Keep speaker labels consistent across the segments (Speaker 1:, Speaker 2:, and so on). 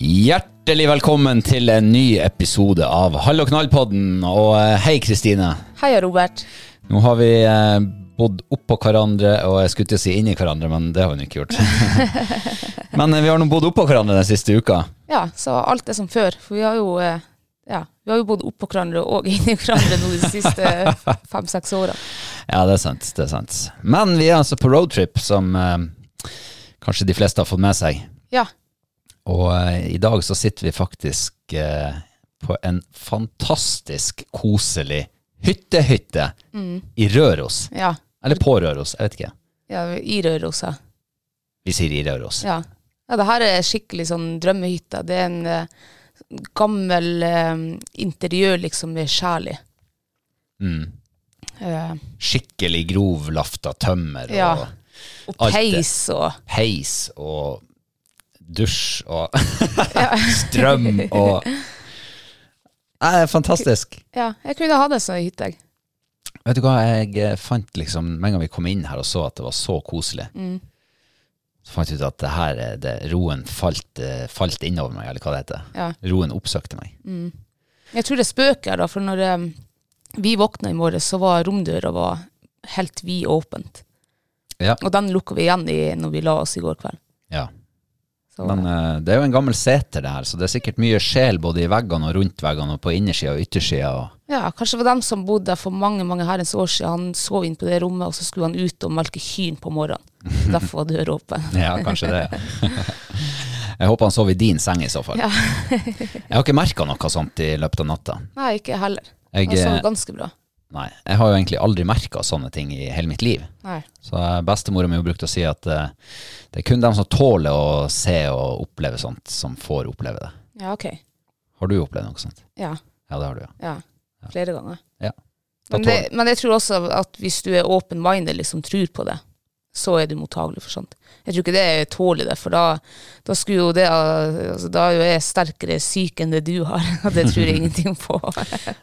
Speaker 1: Hjertelig velkommen til en ny episode av Hall og knall-podden. Og eh, hei, Kristine.
Speaker 2: Hei, Robert.
Speaker 1: Nå har vi eh, bodd oppå hverandre, og jeg skulle til å si inni hverandre, men det har vi nå ikke gjort. men eh, vi har nå bodd oppå hverandre den siste uka.
Speaker 2: Ja, så alt er som før. For vi har jo, eh, ja, vi har jo bodd oppå hverandre og inni hverandre nå de siste fem-seks åra.
Speaker 1: Ja, det er sant. det er sant. Men vi er altså på roadtrip, som eh, kanskje de fleste har fått med seg.
Speaker 2: Ja.
Speaker 1: Og eh, i dag så sitter vi faktisk eh, på en fantastisk koselig hyttehytte i Røros.
Speaker 2: ja.
Speaker 1: Eller på Røros, jeg vet ikke.
Speaker 2: ja I Rørosa.
Speaker 1: Vi sier i Røros.
Speaker 2: Ja. ja. Det her er skikkelig sånn drømmehytta. Det er en eh, gammel eh, interiør liksom med sjel i.
Speaker 1: Mm.
Speaker 2: Eh,
Speaker 1: Skikkelig grov laft av tømmer
Speaker 2: ja.
Speaker 1: og
Speaker 2: Og
Speaker 1: alt det.
Speaker 2: peis og
Speaker 1: peis og dusj og strøm og Nei, det er fantastisk.
Speaker 2: Ja, jeg kunne ha det som ei hytte, jeg.
Speaker 1: Vet du hva, jeg eh, fant liksom Med en gang vi kom inn her og så at det var så koselig, så fant jeg ut at det her eh, det, roen falt, eh, falt innover meg, eller hva det heter.
Speaker 2: Ja.
Speaker 1: Roen oppsøkte meg.
Speaker 2: Jeg tror det spøker, da, for når eh, vi våkna i morges, så var romdøra var helt vidåpent.
Speaker 1: Ja.
Speaker 2: Og den lukka vi igjen i når vi la oss i går kveld.
Speaker 1: ja.
Speaker 2: Så,
Speaker 1: Men eh, det er jo en gammel seter, det her, så det er sikkert mye sjel både i veggene og rundt veggene og på innersida og yttersida. Og
Speaker 2: ja, kanskje det var dem som bodde der for mange mange herrens år siden. Han sov inn på det rommet, og så skulle han ut og melke kyrne på morgenen. Derfor var døra åpen.
Speaker 1: Ja, kanskje det. Jeg håper han sov i din seng i så fall.
Speaker 2: Ja.
Speaker 1: Jeg har ikke merka noe sånt i løpet av natta.
Speaker 2: Nei, ikke jeg heller.
Speaker 1: Jeg,
Speaker 2: Han sov
Speaker 1: eh,
Speaker 2: ganske bra.
Speaker 1: Nei, jeg har jo egentlig aldri merka sånne ting i hele mitt liv.
Speaker 2: Nei.
Speaker 1: Så eh, bestemora mi brukte å si at eh, det er kun dem som tåler å se og oppleve sånt, som får oppleve det.
Speaker 2: Ja, ok.
Speaker 1: Har du opplevd noe sånt?
Speaker 2: Ja.
Speaker 1: Ja, det har du, ja.
Speaker 2: ja. Flere ganger.
Speaker 1: ja. Da
Speaker 2: Men, det,
Speaker 1: tåler-
Speaker 2: men jeg tror også at hvis du er open-minded, liksom tror på det, så er du mottagelig for sånt. Jeg tror ikke det er tålig det, for da, da skulle jo det altså, Da er jo jeg sterkere syk enn det du har, og det tror jeg ingenting på.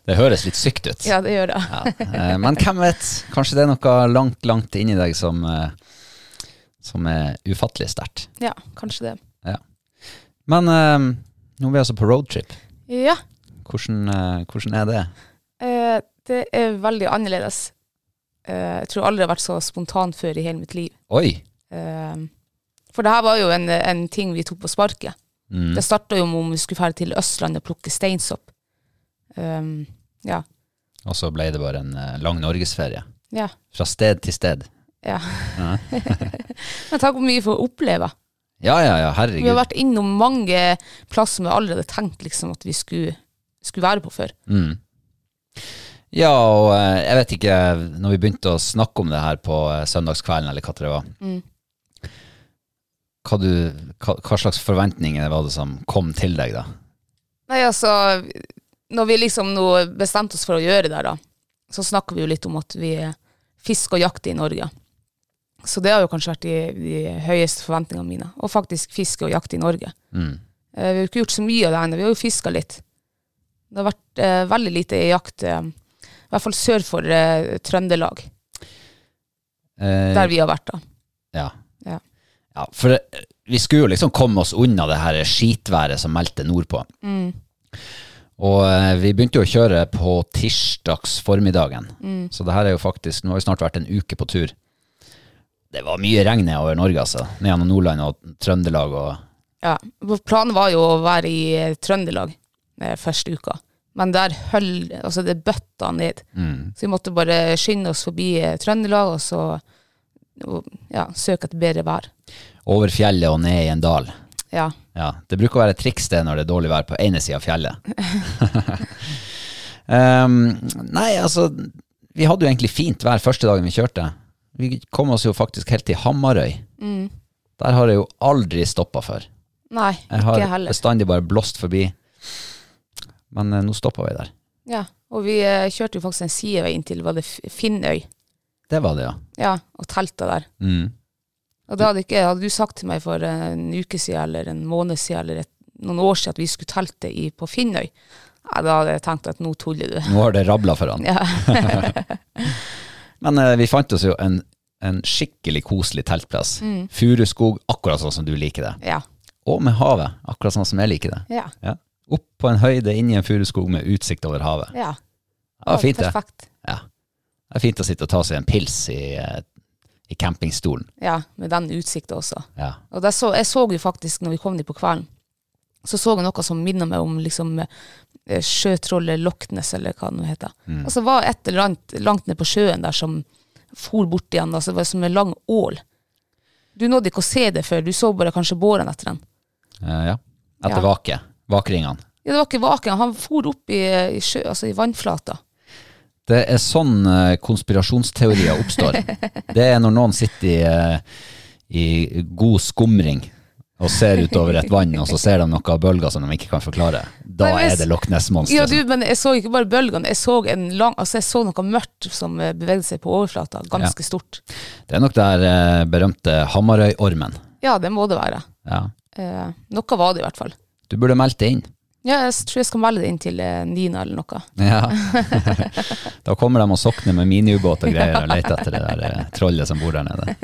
Speaker 1: det høres litt sykt ut.
Speaker 2: Ja, det gjør det.
Speaker 1: Ja, eh, Men hvem vet? Kanskje det er noe langt, langt inni deg som, eh, som er ufattelig sterkt.
Speaker 2: Ja, kanskje det.
Speaker 1: Ja. Men eh, nå er vi altså på roadtrip.
Speaker 2: Ja,
Speaker 1: Hvordan, eh, hvordan er det?
Speaker 2: eh, det er veldig annerledes. Eh, jeg tror aldri jeg har vært så spontan før i hele mitt liv.
Speaker 1: Oi!
Speaker 2: Eh, for det her var jo en, en ting vi tok på sparket.
Speaker 1: Mm.
Speaker 2: Det starta jo med om vi skulle dra til Østlandet og plukke steinsopp. Eh, ja.
Speaker 1: Og så ble det bare en eh, lang norgesferie.
Speaker 2: Ja.
Speaker 1: Fra sted til sted.
Speaker 2: Ja. Men takk hvor mye for å oppleve.
Speaker 1: Ja, ja, ja,
Speaker 2: Vi har
Speaker 1: herregud.
Speaker 2: vært innom mange plasser vi allerede tenkt liksom, at vi skulle, skulle være på før.
Speaker 1: Mm. Ja, og eh, jeg vet ikke, når vi begynte å snakke om det her på eh, søndagskvelden, eller hva det var,
Speaker 2: Mm.
Speaker 1: hva, du, hva, hva slags forventninger var det som kom til deg da?
Speaker 2: Nei, altså, når vi liksom nå bestemte oss for å gjøre det, her, da, så snakker vi jo litt om at vi fisker og jakter i Norge. Så det har jo kanskje vært de, de høyeste forventningene mine, å faktisk fiske og jakte i Norge. Eh, Vi har jo ikke gjort så mye av det ennå, vi har jo fiska litt. Det har vært eh, veldig lite jakt, eh, i hvert fall sør for eh, Trøndelag,
Speaker 1: Eh,
Speaker 2: der vi har vært da.
Speaker 1: Ja.
Speaker 2: Ja.
Speaker 1: Ja, for eh, vi skulle jo liksom komme oss unna det her skitværet som meldte nordpå. Og eh, vi begynte jo å kjøre på tirsdags formiddagen. Så det her er jo faktisk, nå har vi snart vært en uke på tur. Det var mye regn over Norge, altså. Ned gjennom Nordland og Trøndelag og
Speaker 2: Ja, vår plan var jo å være i eh, Trøndelag eh, første uka. Men der høll, altså det bøtta ned.
Speaker 1: Mm.
Speaker 2: Så vi måtte bare skynde oss forbi eh, Trøndelag og så og, ja, søke etter bedre vær.
Speaker 1: over fjellet og ned i en dal.
Speaker 2: Ja.
Speaker 1: Ja, det bruker å være et triks det når det er dårlig vær på ene sida av fjellet. um, nei, altså, vi hadde jo egentlig fint vær første dagen vi kjørte. Vi kom oss jo faktisk helt til Hamarøy.
Speaker 2: Mm.
Speaker 1: Der har jeg jo aldri stoppa før.
Speaker 2: Nei,
Speaker 1: Jeg har
Speaker 2: ikke heller.
Speaker 1: bestandig bare blåst forbi. Men eh, nå stoppa vi der.
Speaker 2: Ja. Og vi eh, kjørte jo faktisk en sidevei inn til var det F- Finnøy,
Speaker 1: Det var det, ja.
Speaker 2: ja, og telta der.
Speaker 1: Mm.
Speaker 2: Og det hadde, ikke, hadde du sagt til meg for eh, en uke siden eller en måned siden eller et, noen år siden at vi skulle telte i, på Finnøy, ja, da hadde jeg tenkt at nå tuller du.
Speaker 1: Nå har det rabla for han.
Speaker 2: Ja.
Speaker 1: Men eh, vi fant oss jo en, en skikkelig koselig teltplass.
Speaker 2: Mm.
Speaker 1: Furuskog, akkurat sånn som du liker det.
Speaker 2: Ja.
Speaker 1: Og med havet, akkurat sånn som jeg liker det.
Speaker 2: ja.
Speaker 1: Ja. Opp på en høyde inni en furuskog med utsikt over havet.
Speaker 2: Ja.
Speaker 1: Det var fint, det.
Speaker 2: Perfekt.
Speaker 1: Ja. Det er fint å sitte og ta seg en pils i, eh, i campingstolen.
Speaker 2: Ja, med den utsikten også.
Speaker 1: Ja.
Speaker 2: Og der så, jeg så jo faktisk, når vi kom dit på kvelden, så så jeg noe som minner meg om liksom, eh, sjøtrollet Loch Ness, eller hva det nå heter.
Speaker 1: Mm.
Speaker 2: Og så var et eller annet langt ned på sjøen der som for bort igjen, altså det var som en lang ål. Du nådde ikke å se det før, du så bare kanskje båren etter den.
Speaker 1: Eh, ja. Etter
Speaker 2: Ja.
Speaker 1: vaket. Vakringene.
Speaker 2: Ja, det var ikke vaken, han for opp i, i sjø, altså i vannflata.
Speaker 1: Det er sånn eh, konspirasjonsteorier oppstår. Det er når noen sitter i, eh, i god skumring og ser utover et vann, og så ser de noe av bølger som de ikke kan forklare. Da
Speaker 2: Nei, men-
Speaker 1: er det Loch Ness-monsteret.
Speaker 2: Ja, du, men jeg så ikke bare bølgene, jeg så, en lang, altså jeg så noe mørkt som eh, bevegde seg på overflata, ganske stort.
Speaker 1: Det er nok der eh, berømte Hamarøyormen.
Speaker 2: Ja, det må det være.
Speaker 1: Ja.
Speaker 2: Eh, noe var det i hvert fall.
Speaker 1: Du burde meldt det inn.
Speaker 2: Ja, jeg s- tror jeg skal melde det inn til eh, Nina eller noe.
Speaker 1: Ja. da kommer de og sokner med miniubåt og greier og leter etter det der eh, trollet som bor der nede.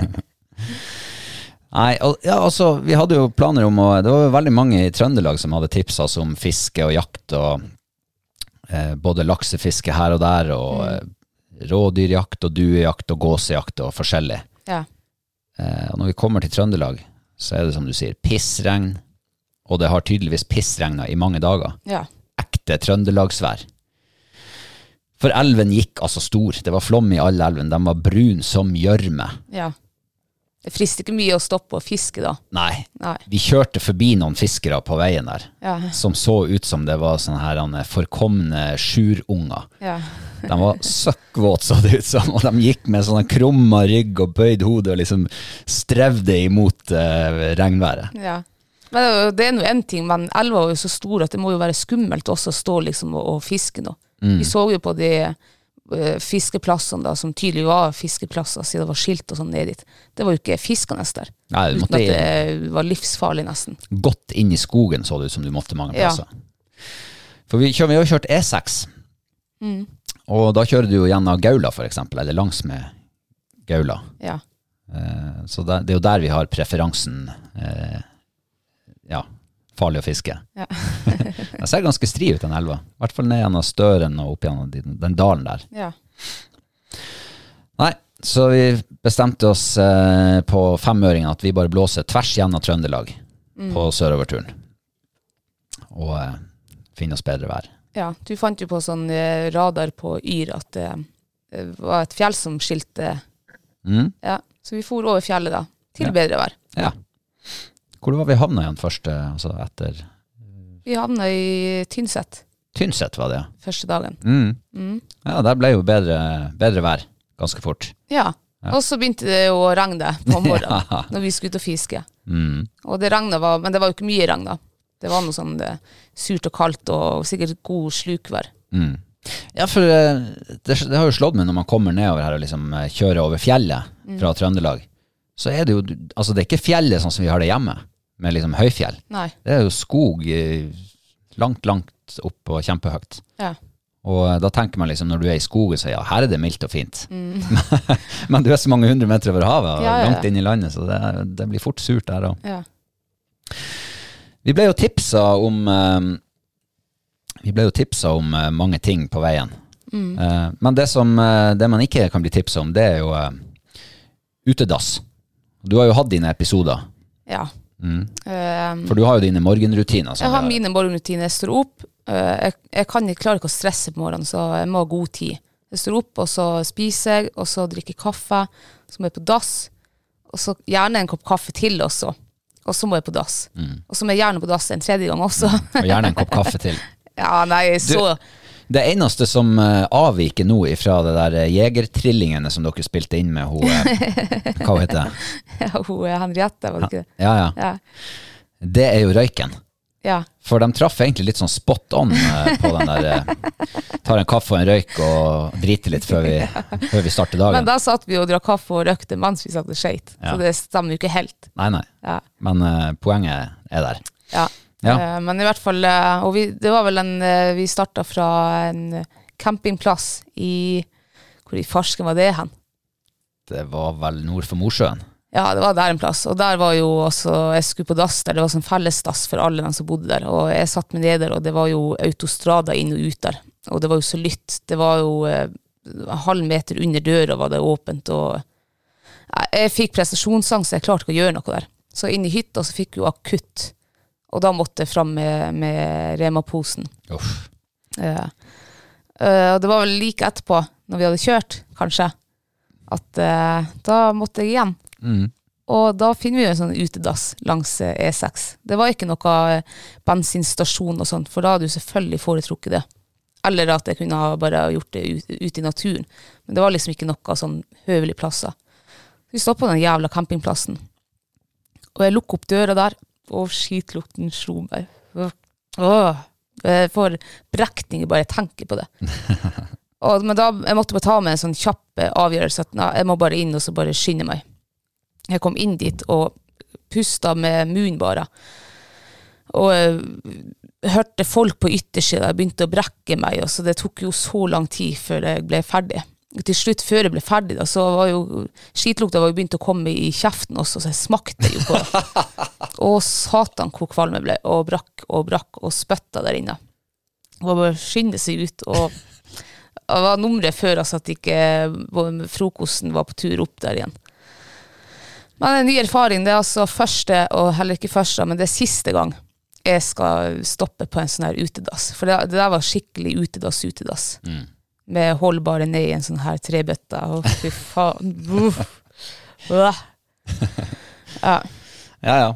Speaker 1: Nei, al- ja, altså, vi hadde jo planer om å Det var jo veldig mange i Trøndelag som hadde tipsa oss om fiske og jakt og eh, både laksefiske her og der og eh, rådyrjakt og duejakt og gåsejakt og forskjellig.
Speaker 2: Ja.
Speaker 1: Eh, og når vi kommer til Trøndelag, så er det som du sier, pissregn. Og det har tydeligvis pissregna i mange dager
Speaker 2: ja.
Speaker 1: ekte trøndelagsvær. For elven gikk altså stor. Det var flom i all elven. Den var brun som gjørme.
Speaker 2: ja. Det frister ikke mye å stoppe og fiske da.
Speaker 1: Nei,
Speaker 2: Nei.
Speaker 1: vi kjørte forbi noen fiskere på veien der
Speaker 2: Ja.
Speaker 1: som så ut som det var sånne her han, forkomne sjurunger.
Speaker 2: Ja.
Speaker 1: De var søkkvåte, så det ut som, og de gikk med sånn krumma rygg og bøyd hode og liksom strevde imot eh, regnværet.
Speaker 2: ja. Men det er jo- det er nå én ting, men elva er jo så stor at det må jo være skummelt også å stå liksom og, og fiske nå. Vi så jo på de eh, fiskeplassene da, som tydelig var fiskeplasser, siden det var skilt og sånn ned dit. Det var jo ikke fiskende der.
Speaker 1: Nei, du
Speaker 2: uten
Speaker 1: måtte
Speaker 2: at det var livsfarlig, nesten.
Speaker 1: godt inn i skogen så det ut som du måtte mange
Speaker 2: Ja.
Speaker 1: plasser. For vi, kjører, vi har jo kjørt E6,
Speaker 2: Mm.
Speaker 1: og da kjører du jo gjennom Gaula for eksempel, eller langs med Gaula.
Speaker 2: Ja.
Speaker 1: Eh, så det, det er jo der vi har preferansen, eh, ja, farlig å fiske.
Speaker 2: Ja.
Speaker 1: den ser ganske stri ut den elva, i hvert fall ned gjennom Støren og opp gjennom den, den dalen der.
Speaker 2: ja.
Speaker 1: Nei, så vi bestemte oss eh, på femøringen at vi bare blåser tvers gjennom Trøndelag på søroverturen. Og eh, finne oss bedre vær.
Speaker 2: Ja, du fant jo på sånn eh, radar på Yr at det eh, var et fjell som skilte.
Speaker 1: Mm.
Speaker 2: Ja, så vi for over fjellet da, til bedre vær.
Speaker 1: Ja. Hvor var vi havna igjen først, eh, altså etter
Speaker 2: Vi havna i Tynset
Speaker 1: Tynset, var det, ja.
Speaker 2: første dagen.
Speaker 1: Mm. Ja, der ble jo bedre, bedre vær ganske fort.
Speaker 2: Ja. Og så begynte det jo å regne på morgenen
Speaker 1: Ja.
Speaker 2: når vi skulle ut og fiske.
Speaker 1: Mm.
Speaker 2: Og det regnet var, men det var jo ikke mye regn, da. Det var noe sånn eh, surt og kaldt og sikkert god slukvær.
Speaker 1: Mm. Ja, for eh, det, det har jo slått meg når man kommer nedover her og liksom eh, kjører over fjellet fra Trøndelag, så er det jo Altså, det er ikke fjellet sånn som vi har det hjemme, med liksom høyfjell.
Speaker 2: Nei.
Speaker 1: Det er jo skog eh, langt, langt opp og kjempehøyt.
Speaker 2: Ja.
Speaker 1: Og eh, da tenker man liksom når du er i skogen, så ja, her er det mildt og fint. Men du er så mange hundre meter over havet og
Speaker 2: Mm. Ja, ja, ja.
Speaker 1: langt inn i landet, så det, er- det blir fort surt der òg.
Speaker 2: ja.
Speaker 1: Vi ble jo tipsa om eh, Vi ble jo tipsa om eh, mange ting på veien.
Speaker 2: Mm.
Speaker 1: Eh, men det, som, eh, det man ikke kan bli tipsa om, det er jo eh, utedass. Du har jo hatt dine episoder,
Speaker 2: ja.
Speaker 1: Mm.
Speaker 2: Eh,
Speaker 1: for du har jo dine morgenrutiner. som
Speaker 2: jeg har
Speaker 1: det-
Speaker 2: mine morgenrutiner. Jeg står opp. eh, jeg, jeg kan ikke, klarer ikke å stresse på morgenen, så jeg må ha god tid. Jeg står opp, og så spiser jeg, og så drikker jeg kaffe, så må jeg på dass. Og så gjerne en kopp kaffe til også. Og så må jeg på dass.
Speaker 1: Mm.
Speaker 2: Og så må jeg gjerne på dass en tredje gang også.
Speaker 1: Og gjerne en kopp kaffe til.
Speaker 2: ja, nei, så
Speaker 1: Det eneste som eh, avviker nå ifra det der eh, Jegertrillingene som dere spilte inn med hun eh, Hva hun heter hun?
Speaker 2: ja, Hun eh, Henriette, var det ikke det?
Speaker 1: Ja, ja.
Speaker 2: Ja.
Speaker 1: Det er jo røyken.
Speaker 2: ja.
Speaker 1: For de traff egentlig litt sånn spot on eh, på den der eh, Tar en kaffe og en røyk og driter litt før vi, før vi starter
Speaker 2: Men
Speaker 1: dagen.
Speaker 2: da satt vi og drakk kaffe og røkte mens vi satt og skøyt,
Speaker 1: Ja.
Speaker 2: så det stemmer jo ikke helt.
Speaker 1: Nei, nei.
Speaker 2: Ja.
Speaker 1: Men eh, poenget er der.
Speaker 2: Ja.
Speaker 1: Ja.
Speaker 2: Eh, Men i hvert fall eh, Og vi, det var vel en eh, Vi starta fra en campingplass i Hvor i farsken var det hen?
Speaker 1: Det var vel nord for Mosjøen.
Speaker 2: Ja, det var der en plass. Og der var jo også Jeg skulle på dass der. Det var sånn fellesdass for alle dem som bodde der. Og jeg satt meg ned der, og det var jo autostrada inn og ut der. Og det var jo så lytt. Det var jo eh, en halv meter under døra var det åpent, og Nei, jeg fikk prestasjonsangst. Jeg klarte ikke å gjøre noe der. Så inn i hytta så fikk jeg jo akutt. Og da måtte jeg fram med, med Rema-posen.
Speaker 1: Uff.
Speaker 2: Eh, eh, og det var vel like etterpå, når vi hadde kjørt, kanskje, at eh, da måtte jeg igjen.
Speaker 1: Mm.
Speaker 2: Og da finner vi jo en sånn utedass langs eh, E6. Det var ikke noe eh, bensinstasjon og sånt, for da hadde du selvfølgelig foretrukket det. Eller at jeg kunne ha bare gjort det ut- ute i naturen. Men det var liksom ikke noe sånn høvelig plasser. Vi stoppa på den jævla campingplassen, og jeg lukker opp døra der, og skitlukten slo meg. Åh, åh. jeg får brekninger bare jeg tenker på det. Og, men da jeg måtte bare ta meg en sånn kjapp eh, avgjørelse at nei, jeg må bare inn og så bare skynde meg. Jeg kom inn dit og pusta med munnen bare. Og eh, hørte folk på yttersida begynte å brekke meg, og så det tok jo så lang tid før jeg ble ferdig. Til slutt, før jeg ble ferdig, da, så var jo skitlukta var jo begynt å komme i kjeften også, så jeg smakte jo på det. og satan hvor kvalm jeg ble, og brakk og brakk og spytta der inne. Og bare skynde seg ut. Og det var nummeret før altså, at ikke frokosten var på tur opp der igjen. Men en ny erfaring, det er altså første, og heller ikke første, men det er siste gang jeg skal stoppe på en sånn her utedass. For det, det der var skikkelig utedass, utedass. Med holdbare ned i en sånn her trebøtte. Å, fy faen. Uff. Uah. Ja.
Speaker 1: Ja, ja.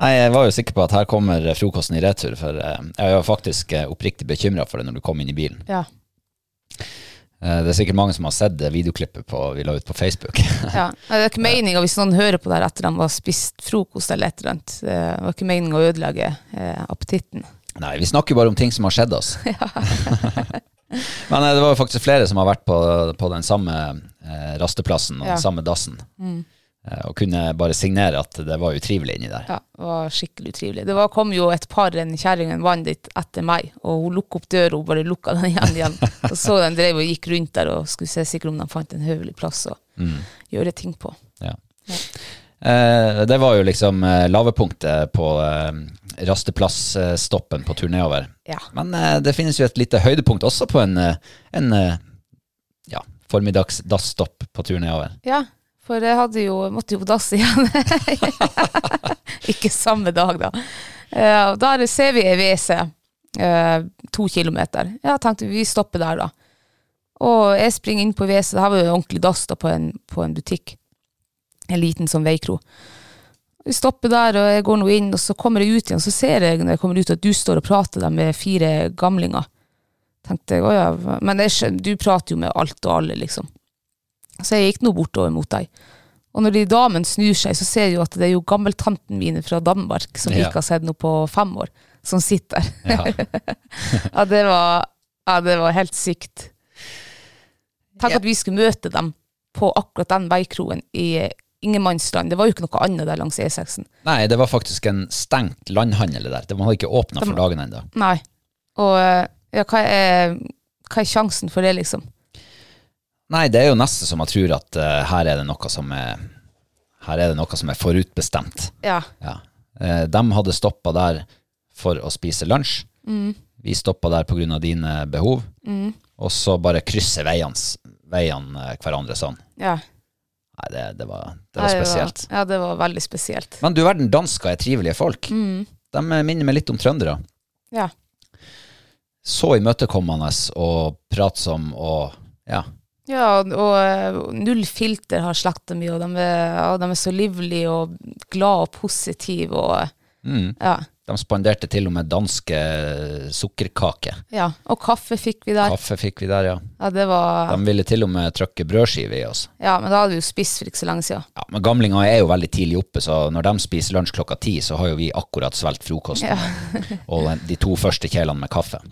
Speaker 1: Nei, jeg var jo sikker på at her kommer frokosten i retur, for eh, jeg var faktisk eh, oppriktig bekymra for det når du kom inn i bilen.
Speaker 2: Ja.
Speaker 1: Eh, Det er sikkert mange som har sett det videoklippet på, vi la ut på Facebook.
Speaker 2: ja. Nei, Det er ikke meninga, hvis noen hører på det her etter de har spist frokost eller et eller annet, eh, det var ikke meninga å ødelegge eh, appetitten.
Speaker 1: Nei, vi snakker bare om ting som har skjedd oss. Men eh, det var jo faktisk flere som har vært på, på den samme eh, rasteplassen og
Speaker 2: Ja.
Speaker 1: den samme dassen. Eh, og kunne bare signere at det var utrivelig inni der.
Speaker 2: Ja, det var skikkelig utrivelig. Det var, kom jo et par, en kjerring og en mann dit etter meg, og hun lukket opp døra, hun bare lukka den igjen igjen. Og så den drev og gikk rundt der og skulle se sikkert om de fant en høvelig plass å gjøre ting på.
Speaker 1: Ja. Eh, det var jo liksom eh, lavepunktet på eh, rasteplassstoppen på tur nedover.
Speaker 2: Ja.
Speaker 1: Men eh, det finnes jo et lite høydepunkt også på en, eh, en eh, ja, formiddags dassstopp på tur nedover.
Speaker 2: Ja, for jeg hadde jo, jeg måtte jo på dass igjen. Ikke samme dag, da. Eh, Og der ser vi E ei WC, eh, to kilometer. Jeg tenkte vi stopper der, da. Og jeg springer inn på WC, det her var jo en ordentlig dass da på en, på en butikk. En liten sånn veikro. Vi stopper der, og jeg går nå inn, og så kommer jeg ut igjen, så ser jeg når jeg kommer ut at du står og prater der med fire gamlinger. Tenkte jeg, «Å ja, hva-» Men jeg, skjøn- du prater jo med alt og alle, liksom. Så jeg gikk nå bortover mot deg. Og når de damene snur seg, så ser jeg jo at det er jo gammeltanten mine fra Danmark, som vi
Speaker 1: Ja.
Speaker 2: ikke har sett nå på fem år, som sitter der.
Speaker 1: Ja.
Speaker 2: Ja, det var, ja, det var helt sykt. Tenk
Speaker 1: Ja.
Speaker 2: at vi skulle møte dem på akkurat den veikroen i Ingemannsland. Det var jo ikke noe annet der langs E6-en.
Speaker 1: Nei, det var faktisk en stengt landhandel det der. Det- Man hadde ikke åpna for dagen ennå.
Speaker 2: Nei. Og eh, ja, hva, er, hva er sjansen for det, liksom?
Speaker 1: Nei, det er jo nesten som man tror at eh, her er det noe som er her er det noe som er forutbestemt.
Speaker 2: Ja.
Speaker 1: Ja. Eh, de hadde stoppa der for å spise lunsj. Vi stoppa der pga. dine behov. Og så bare krysser veiene, s- veiene eh, hverandre sånn.
Speaker 2: ja.
Speaker 1: Nei, det, det, var, det var
Speaker 2: Nei,
Speaker 1: spesielt.
Speaker 2: ja, det var veldig spesielt.
Speaker 1: Men du verden, dansker er trivelige folk. De eh, minner meg litt om trøndere.
Speaker 2: Ja.
Speaker 1: Så imøtekommende og pratsom og ja.
Speaker 2: Ja, og, og eh, Null Filter har slakta mye, og de er, ja, de er så livlige og glad og positive og
Speaker 1: Mm.
Speaker 2: Ja.
Speaker 1: De spanderte til og med danske sukkerkake.
Speaker 2: ja. Og kaffe fikk vi der.
Speaker 1: Kaffe fikk vi der, ja.
Speaker 2: Ja, det var
Speaker 1: De ville til og med trykke brødskive i oss.
Speaker 2: Ja, men da hadde vi jo spist for ikke så lenge siden.
Speaker 1: Ja, men gamlinger er jo veldig tidlig oppe, så når de spiser lunsj klokka ti, så har jo vi akkurat svelget frokosten og den- de to første kjelene med kaffe.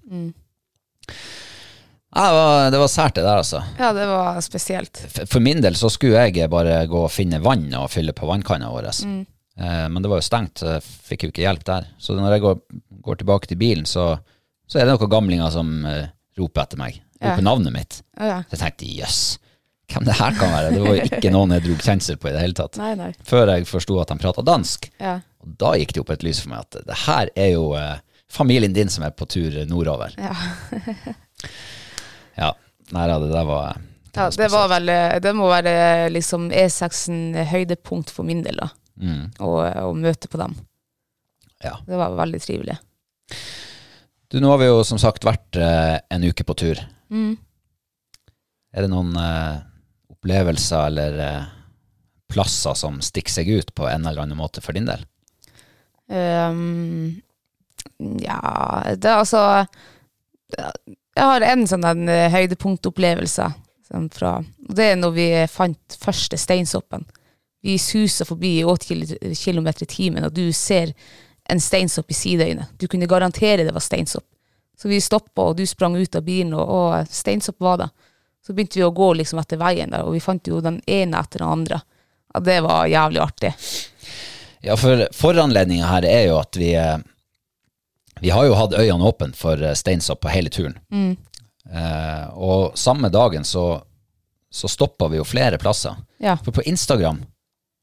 Speaker 1: Ja, det, var, det var sært det der, altså.
Speaker 2: Ja, det var spesielt.
Speaker 1: F- For min del så skulle jeg bare gå og finne vann og fylle på vannkanna vår.
Speaker 2: Mm.
Speaker 1: Eh, men det var jo stengt, så jeg fikk jo ikke hjelp der. Så når jeg går, går tilbake til bilen, så, så er det noen gamlinger som eh, roper etter meg. Roper navnet mitt.
Speaker 2: Å ja.
Speaker 1: Så jeg tenkte jøss, hvem det her kan være? Det var jo ikke noen jeg dro kjensel på i det hele tatt.
Speaker 2: Nei, nei.
Speaker 1: Før jeg forsto at de prata dansk.
Speaker 2: Ja.
Speaker 1: Og da gikk det opp et lys for meg at det her er jo eh, familien din som er på tur nordover.
Speaker 2: Ja.
Speaker 1: Ja. Nei da, det der var
Speaker 2: Ja, det, var vel, eh, det må være liksom E6-en høydepunkt for min del, da.
Speaker 1: Mm,
Speaker 2: Å å møte på dem.
Speaker 1: ja.
Speaker 2: Det var veldig trivelig.
Speaker 1: Du, nå har vi jo som sagt vært eh, en uke på tur. Er det noen eh, opplevelser eller eh, plasser som stikker seg ut på en eller annen måte for din del?
Speaker 2: Ehm, ja Det er altså Jeg har en sånn en eh, høydepunktopplevelse sånn fra og Det er når vi fant første steinsoppen. Vi susa forbi i 8 km i timen, og du ser en steinsopp i sideøynet. Du kunne garantere det var steinsopp. Så vi stoppa, og du sprang ut av bilen, og, og steinsopp var det. Så begynte vi å gå liksom etter veien der, og vi fant jo den ene etter den andre. Ja, det var jævlig artig.
Speaker 1: Ja, for foranledninga her er jo at vi eh, Vi har jo hatt øynene åpne for eh, steinsopp på hele turen. Eh, og samme dagen så, så stoppa vi jo flere plasser.
Speaker 2: Ja.
Speaker 1: For på Instagram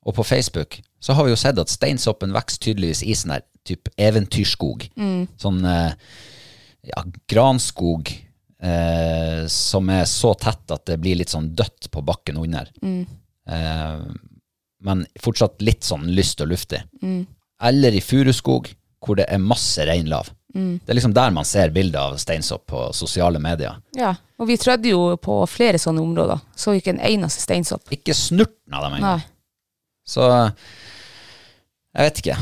Speaker 1: og på Facebook så har vi jo sett at steinsoppen vokser tydeligvis i sånn der typ eventyrskog. Sånn eh, ja, granskog eh, som er så tett at det blir litt sånn dødt på bakken under. Eh, men fortsatt litt sånn lyst og luftig. Eller i furuskog, hvor det er masse reinlav. Det er liksom der man ser bilder av steinsopp på sosiale medier.
Speaker 2: Ja, og vi trødde jo på flere sånne områder. Så ikke en eneste steinsopp.
Speaker 1: Ikke snurten av dem engang.
Speaker 2: Nei.
Speaker 1: Så jeg vet ikke.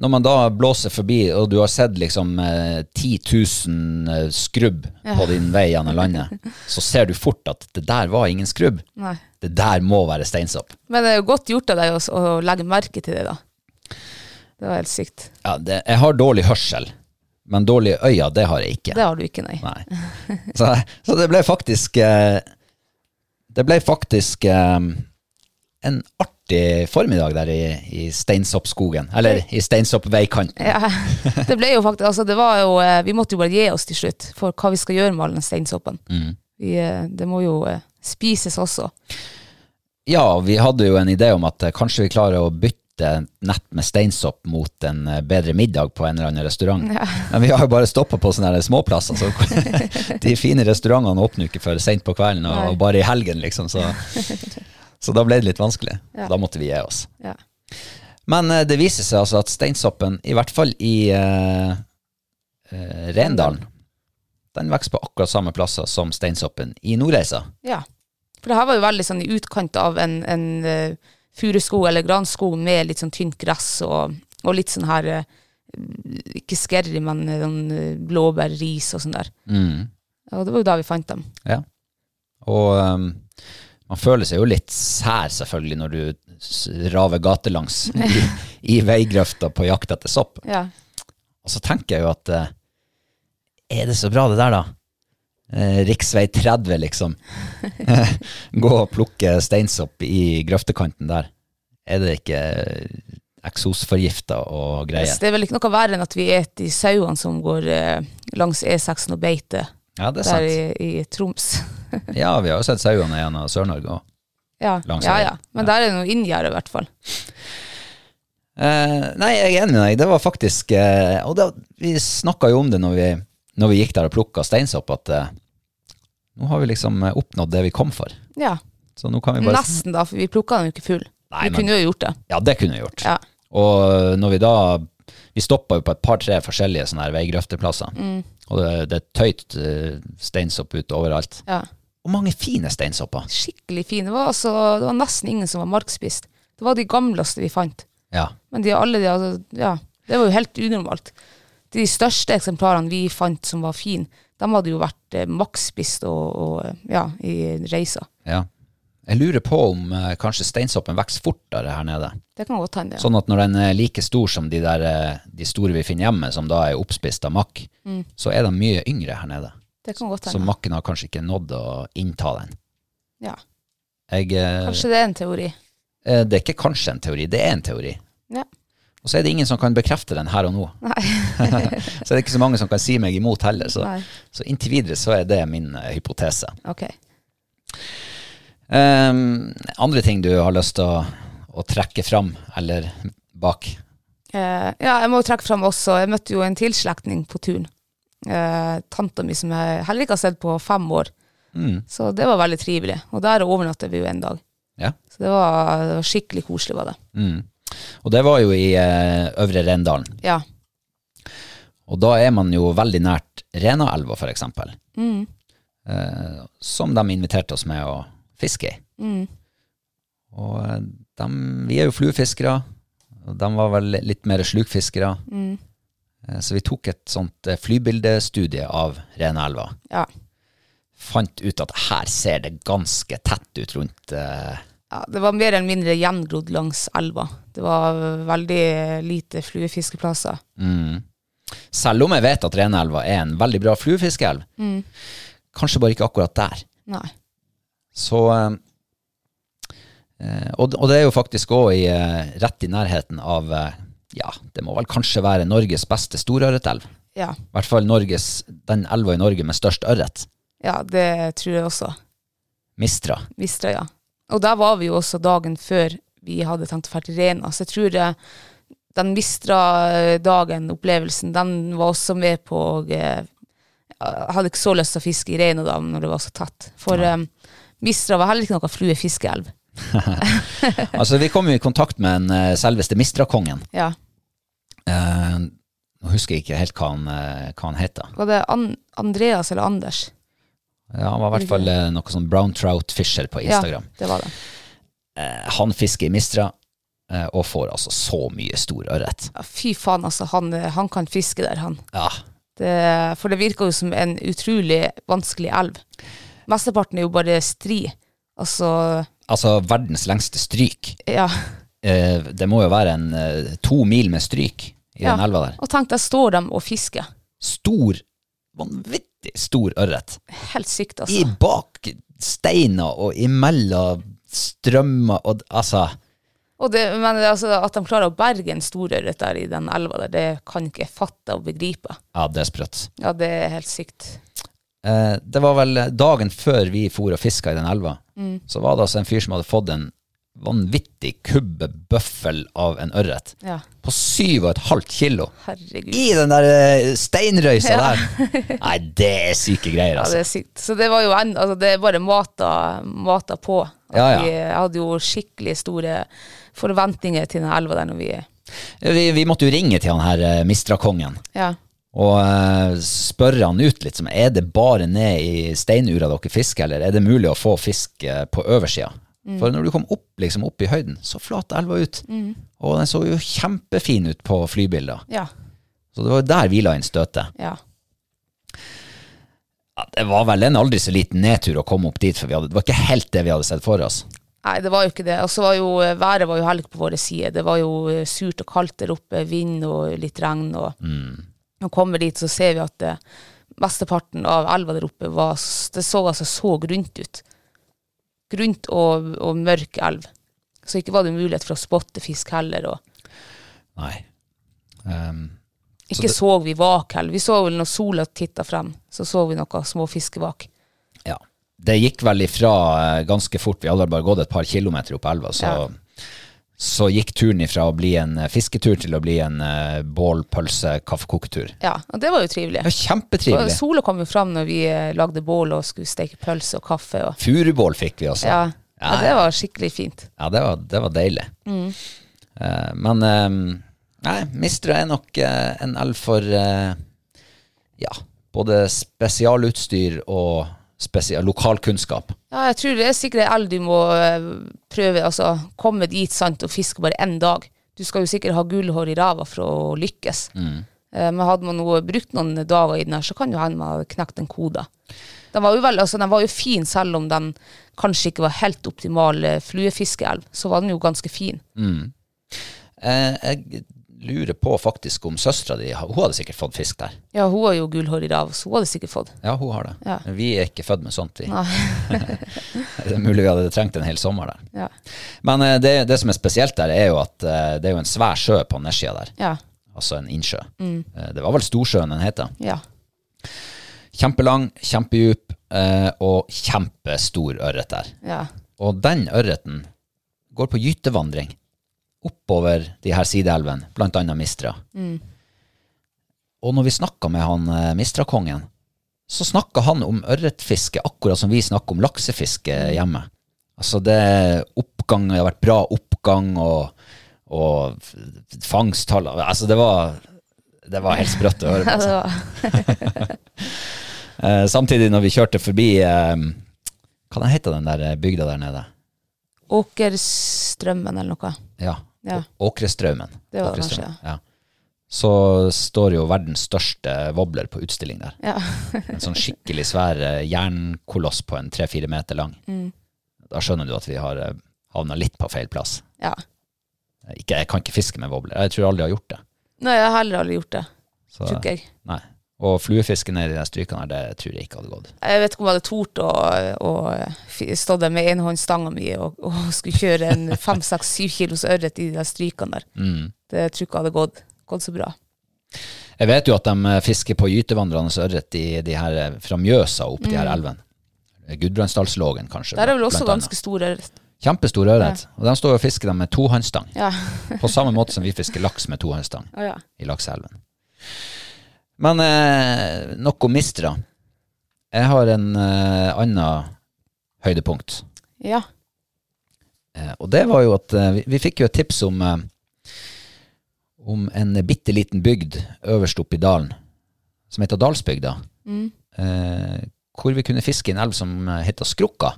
Speaker 1: Når man da blåser forbi, og du har sett liksom eh, 10 000 eh, skrubb på din vei gjennom landet, så ser du fort at det der var ingen skrubb.
Speaker 2: Nei.
Speaker 1: Det der må være steinsopp.
Speaker 2: Men det er jo godt gjort av deg å, å legge merke til det, da. Det var helt sykt.
Speaker 1: Ja, det, jeg har dårlig hørsel, men dårlige øyne, det har jeg ikke.
Speaker 2: Det har du ikke, nei.
Speaker 1: Nei. Så, så det ble faktisk eh, Det ble faktisk eh, en artig formiddag der i, i Steinsoppskogen. Eller i Steinsoppveikanten.
Speaker 2: Ja. Det ble jo faktisk, altså det var jo, eh, vi måtte jo bare gi oss til slutt for hva vi skal gjøre med all den steinsoppen. Vi, eh, det må jo eh, spises også.
Speaker 1: Ja, vi hadde jo en idé om at eh, kanskje vi klarer å bytte nett med steinsopp mot en eh, bedre middag på en eller annen restaurant. Men vi har jo bare stoppa på sånne her småplasser. Så de fine restaurantene åpner jo ikke før seint på kvelden, og, og bare i helgen, liksom. Så, så da ble det litt vanskelig. Da måtte vi gi oss.
Speaker 2: Ja.
Speaker 1: Men eh, det viser seg altså at steinsoppen, i hvert fall i eh, eh, Rendalen, den vokser på akkurat samme plasser som steinsoppen i Nordreisa.
Speaker 2: ja. For det her var jo veldig sånn i utkant av en, en eh, furuskog eller granskog med litt sånn tynt gress og, og litt sånn her eh, Ikke skerry, men eh, sånn eh, blåbær, ris og sånn der.
Speaker 1: Mm.
Speaker 2: Og det var jo da vi fant dem.
Speaker 1: Ja. Og ehm, man føler seg jo litt sær selvfølgelig når du s- raver gatelangs i, i veigrøfta på jakt etter sopp.
Speaker 2: Ja.
Speaker 1: Og så tenker jeg jo at eh, er det så bra det der da? Eh, Riksvei 30 liksom. Gå og plukke steinsopp i grøftekanten der. Er det ikke eksosforgifta og
Speaker 2: Så
Speaker 1: greier?
Speaker 2: det er vel ikke noe verre enn at vi et de sauene som går eh, langs E6 og beiter
Speaker 1: Ja, det er
Speaker 2: der
Speaker 1: sant.
Speaker 2: i, i Troms.
Speaker 1: Ja, vi har jo sett sauene gjennom Sør-Norge også.
Speaker 2: ja.
Speaker 1: Langs
Speaker 2: ja,
Speaker 1: veien.
Speaker 2: ja. Men der er det noe inngjerde, i hvert fall.
Speaker 1: Eh, nei, jeg er enig med deg. Det var faktisk eh, Og da, vi snakka jo om det når vi, når vi gikk der og plukka steinsopp, at eh, nå har vi liksom eh, oppnådd det vi kom for.
Speaker 2: Ja.
Speaker 1: Så nå kan vi bare
Speaker 2: Nesten, da, for vi plukka den jo ikke full.
Speaker 1: Nei,
Speaker 2: vi
Speaker 1: men-
Speaker 2: kunne jo gjort det.
Speaker 1: Ja, det kunne vi gjort.
Speaker 2: Ja.
Speaker 1: Og eh, når vi da Vi stoppa jo på et par-tre forskjellige sånne her veigrøfteplasser. Og det, det er tøyt eh, steinsopp ute overalt.
Speaker 2: Ja.
Speaker 1: Og mange fine steinsopper.
Speaker 2: Skikkelig fin. Det var, altså, det var nesten ingen som var markspist. Det var de gamleste vi fant.
Speaker 1: Ja.
Speaker 2: Men de, alle de, altså, ja, det var jo helt unormalt. De største eksemplarene vi fant som var fine, de hadde jo vært eh, maksspist og, og eh, ja, i reiser.
Speaker 1: ja. Jeg lurer på om eh, kanskje steinsoppen vokser fortere her nede.
Speaker 2: Det kan godt hende. Ja.
Speaker 1: Sånn at når den er like stor som de, der, eh, de store vi finner hjemme, som da er oppspist av makk,
Speaker 2: Mm.
Speaker 1: så er de mye yngre her nede.
Speaker 2: Det kan godt
Speaker 1: Så
Speaker 2: hende.
Speaker 1: makken har kanskje ikke nådd å innta den.
Speaker 2: Ja.
Speaker 1: Jeg, eh,
Speaker 2: Kanskje det er en teori.
Speaker 1: eh, det er ikke kanskje en teori, det er en teori.
Speaker 2: Ja.
Speaker 1: Og så er det ingen som kan bekrefte den her og nå. så er det ikke så mange som kan si meg imot heller. Så,
Speaker 2: Nei.
Speaker 1: så inntil videre så er det min eh, hypotese.
Speaker 2: Ok.
Speaker 1: Ehm, andre ting du har lyst til å, å trekke fram, eller bak?
Speaker 2: Eh, ja, jeg må jo trekke fram også, jeg møtte jo en tilslektning på turen. Eh, Tanta mi som jeg heller ikke har sett på fem år. Så det var veldig trivelig. Og der overnatta vi jo en dag.
Speaker 1: Ja.
Speaker 2: Så det var, det var skikkelig koselig, var det.
Speaker 1: Mm. Og det var jo i eh, Øvre Rendalen.
Speaker 2: Ja.
Speaker 1: Og da er man jo veldig nært Renaelva, for eksempel. Eh, som de inviterte oss med å fiske i. Og eh, dem- vi er jo fluefiskere, og de var vel litt mer slukfiskere. Eh, så vi tok et sånt eh, flybildestudie av Renaelva.
Speaker 2: Ja.
Speaker 1: Fant ut at her ser det ganske tett ut rundt eh,
Speaker 2: ja. Det var mer eller mindre gjengrodd langs elva. Det var veldig lite fluefiskeplasser.
Speaker 1: Mm. Selv om jeg vet at Renaelva er en veldig bra fluefiskeelv. Kanskje bare ikke akkurat der.
Speaker 2: Nei.
Speaker 1: Så eh, og, og det er jo faktisk òg i, eh, rett i nærheten av eh, Ja, det må vel kanskje være Norges beste storørretelv. I
Speaker 2: Ja.
Speaker 1: hvert fall Norges, den elva i Norge med størst ørret.
Speaker 2: ja, det tror jeg også.
Speaker 1: Mistra.
Speaker 2: Vistrøya. Og der var vi jo også dagen før vi hadde tenkt å dra til Rena, så jeg tror det, den Vistra-dagen-opplevelsen, den var også med på og, eh, Jeg hadde ikke så lyst til å fiske i Rena da, når det var så tett. For eh, Vistra var heller ikke noe fluefiskeelv.
Speaker 1: Altså, vi kom jo i kontakt med den eh, selveste Mistra-kongen.
Speaker 2: Ja.
Speaker 1: Eh, nå husker jeg ikke helt hva han, eh, hva han heter.
Speaker 2: Var det An Andreas eller Anders?
Speaker 1: Ja, han var i hvert fall eh, noe sånn brown trout fisher på Instagram.
Speaker 2: Ja, det var det.
Speaker 1: han fisker i Mistra, eh, og får altså så mye stor ørret.
Speaker 2: Ja, fy faen, altså. Han, eh, han kan fiske der, han.
Speaker 1: Ja.
Speaker 2: Det, for det virker jo som en utrolig vanskelig elv. Mesteparten er jo bare stri. Altså,
Speaker 1: Altså, verdens lengste stryk.
Speaker 2: ja.
Speaker 1: Eh, det må jo være en eh, to mil med stryk i den elva der.
Speaker 2: Og tenk, der står de og fisker.
Speaker 1: Stor, vanvittig stor ørret.
Speaker 2: Helt sykt, altså.
Speaker 1: I bak steiner og imellom strømmer og Altså,
Speaker 2: Og det, men det, er altså, at de klarer å berge en storørret der i den elva der, det kan ikke jeg fatte og begripe.
Speaker 1: ja, det er sprøtt.
Speaker 2: Ja, det er helt sykt.
Speaker 1: Eh, det var vel dagen før vi for og fiska i den elva, så var det altså en fyr som hadde fått en vanvittig kubbe bøffel av en ørret.
Speaker 2: Ja,
Speaker 1: På syv og et halvt kilo.
Speaker 2: herregud.
Speaker 1: I den der eh, steinrøysa der. Nei, det er syke greier,
Speaker 2: Ja, det
Speaker 1: altså.
Speaker 2: er sykt. Så det var jo en, altså, det er bare mata, mata på. At
Speaker 1: Ja, ja.
Speaker 2: Vi jeg hadde jo skikkelig store forventninger til den elva der når vi
Speaker 1: Vi, vi måtte jo ringe til han her eh, Mistra-kongen
Speaker 2: Ja.
Speaker 1: og eh, spørre han ut litt. Som, er det bare ned i steinura dere fisker, eller er det mulig å få fisk eh, på oversida? For når du kom opp, liksom, opp i høyden, så flat elva ut. Og den så jo kjempefin ut på flybilder.
Speaker 2: Ja.
Speaker 1: Så det var jo der vi la inn støtet.
Speaker 2: ja.
Speaker 1: Ja, det var vel en aldri så liten nedtur å komme opp dit, for vi hadde, det var ikke helt det vi hadde sett for oss.
Speaker 2: Nei, det var jo ikke det. Og så var jo eh, været var jo heller ikke på våre side. Det var jo eh, surt og kaldt der oppe, vind og litt regn. Og når vi kommer dit, så ser vi at eh, mesteparten av elva der oppe var s- Det så altså så grunt ut. Grunt og, og mørk elv. Så ikke var det mulighet for å spotte fisk heller. Og
Speaker 1: Nei. Um,
Speaker 2: ikke så, vi vak heller. Vi så vel når sola titta frem, så så vi noen små fiskevak.
Speaker 1: ja. Det gikk vel ifra eh, ganske fort. Vi hadde vel bare gått et par kilometer opp elva, så,
Speaker 2: Ja.
Speaker 1: så gikk turen ifra å bli en eh, fisketur til å bli en eh, bålpølse-kaffekoketur.
Speaker 2: Ja, og det var jo
Speaker 1: Det
Speaker 2: trivelig.
Speaker 1: var kjempetrivelig.
Speaker 2: Sola kom jo fram når vi eh, lagde bål og skulle steke pølse og kaffe. og
Speaker 1: Furubål fikk vi også.
Speaker 2: Ja.
Speaker 1: Ja,
Speaker 2: ja, det var skikkelig fint.
Speaker 1: Ja, det var, det var deilig. Eh, men eh, nei, Mistra er nok eh, en elv for eh, ja, både spesialutstyr og spesial lokalkunnskap.
Speaker 2: Ja, jeg tror det er sikkert en elg du må eh, prøve, altså komme dit sant, og fiske bare én dag. Du skal jo sikkert ha gullhår i ræva for å lykkes. Eh, Men hadde man noe, brukt noen dager i den her, så kan jo hende man hadde knekt en kode. Den var jo vel, altså den var jo fin, selv om den kanskje ikke var helt optimal eh, fluefiskeelv, så var den jo ganske fin.
Speaker 1: Eh, jeg lurer på faktisk om søstera di Hun hadde sikkert fått fisk der.
Speaker 2: Ja, hun har jo gullhår i ræva, så hun hadde sikkert fått.
Speaker 1: Ja, hun har det.
Speaker 2: Ja.
Speaker 1: Men Vi er ikke født med sånt. Vi.
Speaker 2: Nei.
Speaker 1: det er mulig vi hadde trengt en hel sommer der.
Speaker 2: Ja.
Speaker 1: Men eh, det, det som er spesielt der, er jo at eh, det er jo en svær sjø på nedsida der.
Speaker 2: Ja.
Speaker 1: Altså en innsjø.
Speaker 2: Mm.
Speaker 1: Eh, det var vel Storsjøen den heter.
Speaker 2: ja.
Speaker 1: Kjempelang, kjempedjup eh, og kjempestor ørret der.
Speaker 2: ja.
Speaker 1: Og den ørreten går på gytevandring oppover de her sideelvene, blant annet Mistra. Og når vi snakka med han eh, Mistra-kongen, så snakka han om ørretfiske akkurat som vi snakker om laksefiske hjemme. Altså det er oppgang, det har vært bra oppgang og, og f- fangsttall Altså det var, det var helt sprøtt å høre på.
Speaker 2: Ja, det var-
Speaker 1: Eh, samtidig når vi kjørte forbi eh, Hva den heter den der eh, bygda der nede?
Speaker 2: Åkerstrømmen eller noe.
Speaker 1: Ja.
Speaker 2: Ja.
Speaker 1: Å- Åkrestraumen.
Speaker 2: Det var det kanskje,
Speaker 1: Åkrestraumen, ja. Så står jo verdens største wobbler på utstilling der.
Speaker 2: Ja.
Speaker 1: En sånn skikkelig svær eh, jernkoloss på en tre-fire meter lang.
Speaker 2: Mm.
Speaker 1: Da skjønner du at vi har eh, havna litt på feil plass.
Speaker 2: ja.
Speaker 1: Ikke, jeg kan ikke fiske med wobbler. Jeg tror aldri jeg har gjort det.
Speaker 2: Nei, jeg har heller aldri gjort det.
Speaker 1: Så-
Speaker 2: Tror ikke jeg.
Speaker 1: nei. Og fluefiske nede i de strykene her, det tror jeg ikke hadde gått.
Speaker 2: Jeg vet ikke om jeg hadde tort å, å fi- stå der med enhåndsstanga mi og, og skulle kjøre en fem, seks, syv kilos ørret i de der strykene der. Det tror jeg ikke hadde gått, gått så bra.
Speaker 1: Mm. Jeg vet jo at de eh, fisker på gytevandrende ørret i de her eh, fra Mjøsa opp de her elven. Gudbrandsdalslågen, kanskje.
Speaker 2: Mm. Der er vel også
Speaker 1: blant annet.
Speaker 2: ganske stor ørret.
Speaker 1: Kjempestor ørret. Og de står og fisker dem med tohåndstang.
Speaker 2: Ja.
Speaker 1: På samme måte som vi fisker laks med tohåndstang
Speaker 2: Å ja.
Speaker 1: i lakseelven. Men eh, nok om Mistra. Jeg har en eh, annen høydepunkt.
Speaker 2: ja.
Speaker 1: Eh, og det var jo at eh, vi, vi fikk jo et tips om, eh, om en bitte liten bygd øverst oppe i dalen, som heter Dalsbygda, eh, hvor vi kunne fiske i en elv som eh, heter Skrukka.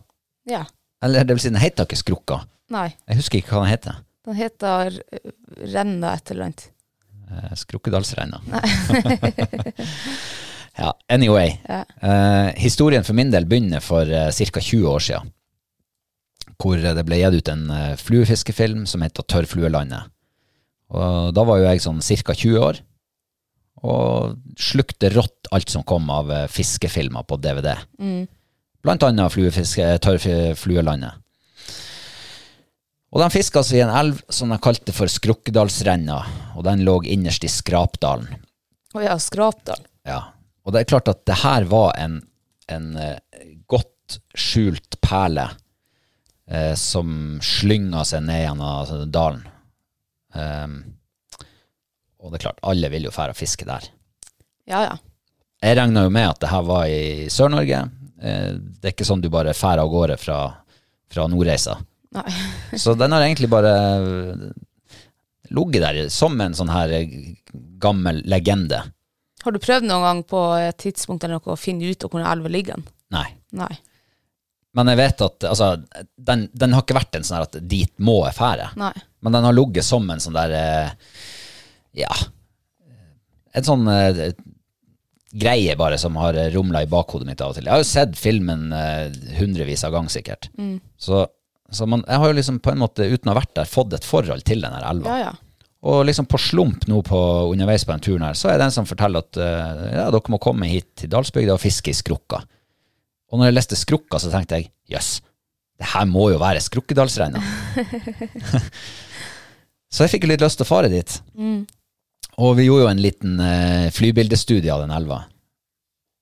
Speaker 2: Ja.
Speaker 1: Eller det vil si, den heter ikke Skrukka.
Speaker 2: Nei.
Speaker 1: Jeg husker ikke hva den heter.
Speaker 2: Den heter eh, Renna et eller annet.
Speaker 1: Eh, Skrukkedalsrenna. ja, anyway. Eh, historien for min del begynner for eh, ca. 20 år siden. Hvor eh, det ble gitt ut en eh, fluefiskefilm som heter Tørrfluelandet. Og da var jo jeg sånn ca. 20 år. Og slukte rått alt som kom av eh, fiskefilmer på DVD. Blant annet fluefiske, eh, Tørrfluelandet. Og de fiska altså i en elv som de kalte for Skrukkedalsrenna, og den lå innerst i Skrapdalen.
Speaker 2: Å ja, Skrapdal.
Speaker 1: Ja. Og det er klart at det her var en, en eh, godt skjult perle eh, som slynga seg ned gjennom altså, dalen. Ehm, og det er klart, alle vil jo fære og fiske der.
Speaker 2: Ja, ja.
Speaker 1: Jeg regna jo med at det her var i Sør-Norge. Eh, det er ikke sånn du bare færer av gårde fra, fra Nordreisa.
Speaker 2: Nei.
Speaker 1: Så den har egentlig bare eh, ligget der som en sånn her gammel legende.
Speaker 2: Har du prøvd noen gang på et tidspunkt eller noe å finne ut av hvor elva ligger?
Speaker 1: Nei.
Speaker 2: Nei.
Speaker 1: Men jeg vet at altså, den, den har ikke vært en sånn her at dit må jeg fære.
Speaker 2: Nei.
Speaker 1: Men den har ligget som en sånn der eh, Ja. En sånn eh, greie bare som har rumla i bakhodet mitt av og til. Jeg har jo sett filmen eh, hundrevis av ganger sikkert. Så, så man, jeg har jo liksom på en måte, uten å ha vært der, fått et forhold til den her elva.
Speaker 2: Ja, ja.
Speaker 1: Og liksom på slump nå på, underveis på den turen her, så er det en som forteller at eh, ja, dere må komme hit til Dalsbygda og fiske i skrukka. Og når jeg leste skrukka, så tenkte jeg jøss, det her må jo være Skrukkedalsreina. så jeg fikk jo litt lyst til å fare dit. Og vi gjorde jo en liten eh, flybildestudie av den elva,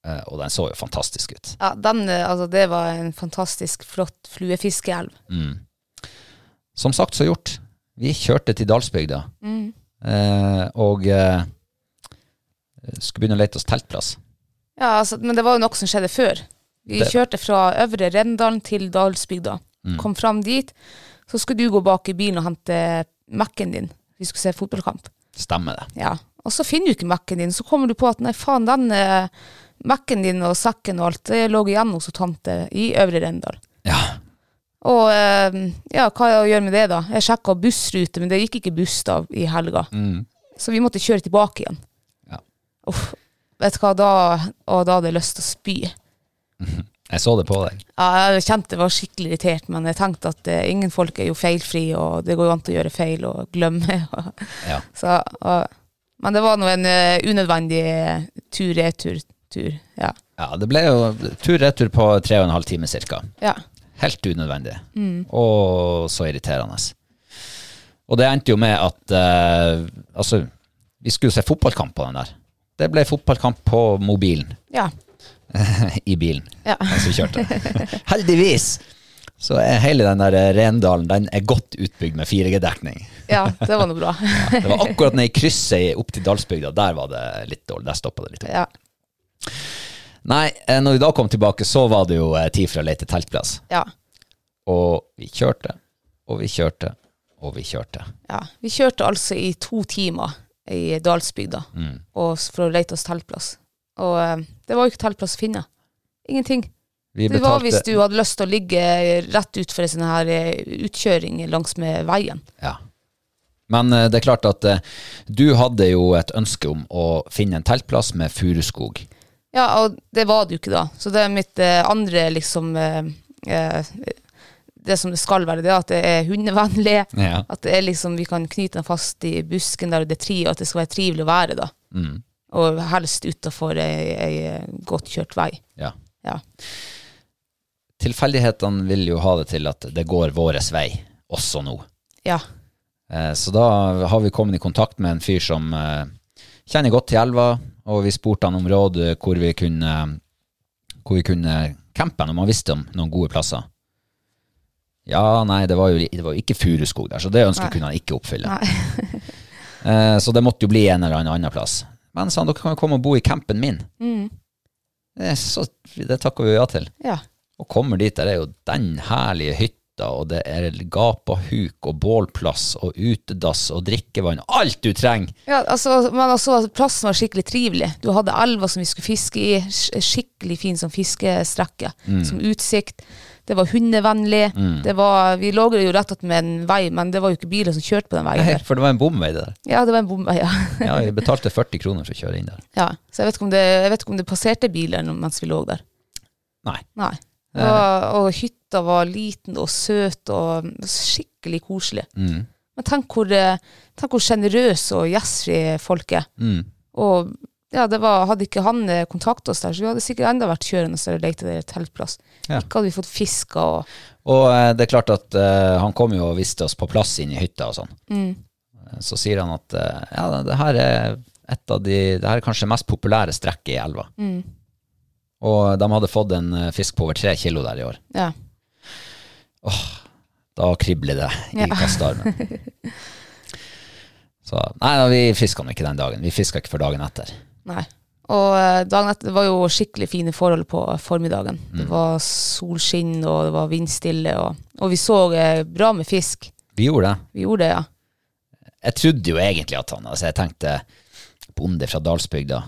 Speaker 1: Eh, og den så jo fantastisk ut.
Speaker 2: ja den, eh, altså, det var en fantastisk flott fluefiskeelv.
Speaker 1: Mm. som sagt så gjort. Vi kjørte til Dalsbygda eh, og eh, skulle begynne å lete oss teltplass.
Speaker 2: Ja, altså, men det var jo noe som skjedde før. Vi
Speaker 1: Det- Mm.
Speaker 2: kjørte fra Øvre Rendalen til Dalsbygda. Kom fram dit, så skulle du gå bak i bilen og hente Mac-en din. Vi skulle se fotballkamp.
Speaker 1: Stemmer det.
Speaker 2: Ja. Og så finner du ikke Mac-en din, så kommer du på at nei, faen, den eh, Mac-en din og sekken og alt, det lå igjen hos tante i Øvre Rendal.
Speaker 1: Ja,
Speaker 2: Og eh, ja, hva er det å gjøre med det, da? Jeg sjekka bussrute, men det gikk ikke buss da i helga. Så vi måtte kjøre tilbake igjen.
Speaker 1: Mm. Ja.
Speaker 2: Uff, vet du hva, da, og da hadde jeg lyst til å spy.
Speaker 1: jeg så det på deg.
Speaker 2: Ja, jeg kjente jeg var skikkelig irritert, men jeg tenkte at eh, ingen folk er jo feilfri, og det går jo an til å gjøre feil og glemme. Og,
Speaker 1: Ja.
Speaker 2: så, og, men det var nå en eh, unødvendig eh, tur-retur-tur. Ja.
Speaker 1: Ja, det ble jo tur-retur på tre og en halv time cirka.
Speaker 2: ja.
Speaker 1: Helt unødvendig. Og så irriterende. Og det endte jo med at eh, altså, vi skulle se fotballkamp på den der. Det ble fotballkamp på mobilen.
Speaker 2: Ja.
Speaker 1: I bilen.
Speaker 2: Ja.
Speaker 1: mens vi kjørte. Heldigvis! Så er hele den der Rendalen den er godt utbygd med 4G-dekning.
Speaker 2: ja, det var nå bra.
Speaker 1: Det var akkurat nede i krysset i- opp til Dalsbygda. Der var det litt dårlig. Der stoppa det litt. opp.
Speaker 2: Ja.
Speaker 1: Nei, eh, når vi da kom tilbake, så var det jo eh, tid for å lete teltplass.
Speaker 2: ja.
Speaker 1: Og vi kjørte, og vi kjørte, og vi kjørte.
Speaker 2: Ja, vi kjørte altså i to timer i Dalsbygda og s- for å lete oss teltplass. Og eh, det var jo ikke teltplass å finne. Ingenting.
Speaker 1: Vi
Speaker 2: det var hvis du hadde lyst til å ligge rett utfor en sånn her eh, utkjøring langs med veien.
Speaker 1: Ja. Men eh, det er klart at eh, du hadde jo et ønske om å finne en teltplass med furuskog.
Speaker 2: Ja, og det var det jo ikke da. Så det er mitt eh, andre liksom eh, eh, Det som det skal være, det er at det er hundevennlig.
Speaker 1: Ja.
Speaker 2: At det er liksom, vi kan knyte den fast i busken der det er tri, og at det skal være trivelig å være da.
Speaker 1: Mm,
Speaker 2: Og helst utafor ei, ei godt kjørt vei.
Speaker 1: ja.
Speaker 2: Ja.
Speaker 1: tilfeldighetene vil jo ha det til at det går våres vei, også nå.
Speaker 2: Ja.
Speaker 1: Eh, Så da har vi kommet i kontakt med en fyr som eh, kjenner godt til elva, og vi spurte han om råd eh, hvor vi kunne, hvor vi kunne campe når man visste om noen gode plasser. Ja, nei, det var jo, det var jo ikke furuskog der, så det ønsket kunne han ikke oppfylle. Eh, Så det måtte jo bli en eller annen annen plass. Men sa han, dere kan jo komme og bo i campen min. Eh, Så, det takker vi jo ja til.
Speaker 2: ja.
Speaker 1: Og kommer dit, der er jo den herlige hytta, og det er gap og huk og bålplass og utedass og drikkevann. Alt du trenger!
Speaker 2: Ja, altså, men altså, plassen var skikkelig trivelig. Du hadde elva som vi skulle fiske i, sk- skikkelig fin som fiskestrekke, som utsikt. Det var hundevennlig. Det var, vi lå jo rett og slett med en vei, men det var jo ikke biler som kjørte på den veien. der.
Speaker 1: For det var en bomvei, det der.
Speaker 2: Ja, det var en bomvei, ja.
Speaker 1: Ja, vi betalte 40 kroner for å kjøre inn der.
Speaker 2: ja. Så jeg vet, ikke om det, jeg vet ikke om det passerte biler nå mens vi lå der.
Speaker 1: Nei.
Speaker 2: Nei. Det var, og hytta var liten og søt og skikkelig koselig.
Speaker 1: Mm,
Speaker 2: Men tenk hvor, eh, tenk hvor sjenerøse og gjestfrie folk er.
Speaker 1: mm.
Speaker 2: Og ja, det var, hadde ikke han eh, kontaktet oss der, så vi hadde sikkert enda vært kjørende og lett etter en teltplass.
Speaker 1: Ja.
Speaker 2: Ikke hadde vi fått fiska og
Speaker 1: Og eh, det er klart at eh, han kom jo og viste oss på plass inn i hytta og sånn. Eh, Så sier han at eh, ja, det- det her er et av de Det her er kanskje det mest populære strekket i elva. Og de hadde fått en eh, fisk på over tre kilo der i år.
Speaker 2: ja.
Speaker 1: Da kribler det i kastearmen. Så, nei, da, vi fiska ikke den dagen. Vi fiska ikke for dagen etter.
Speaker 2: Nei. Og eh, dagen etter det var jo skikkelig fine forhold på eh, formiddagen. Det var solskinn, og det var vindstille, og, og vi så eh, bra med fisk.
Speaker 1: Vi gjorde det.
Speaker 2: Vi gjorde det, ja.
Speaker 1: Jeg trodde jo egentlig at han altså Jeg tenkte bonde fra Dalsbygda.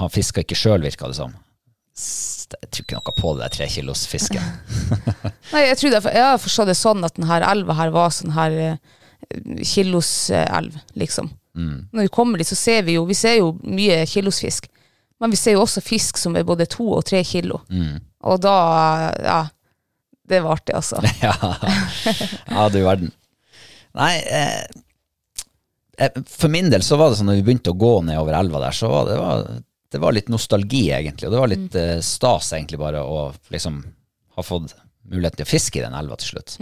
Speaker 1: Han fiska ikke sjøl, virka det som. s- Jeg tror ikke noe på det der trekilosfisket.
Speaker 2: Nei, jeg, tror det, jeg har forstått det sånn at denne elva her var sånn her eh, kiloselv, liksom. Når vi kommer dit, så ser vi jo Vi ser jo mye kilosfisk. Men vi ser jo også fisk som er både to og tre kilo. Og da Ja. Det var artig, altså.
Speaker 1: ja. ja, du verden. Nei, eh, eh, for min del så var det sånn når vi begynte å gå nedover elva der, så var det, var, det var litt nostalgi, egentlig. Og det var litt eh, stas, egentlig, bare å liksom ha fått muligheten til å fiske i den elva til slutt.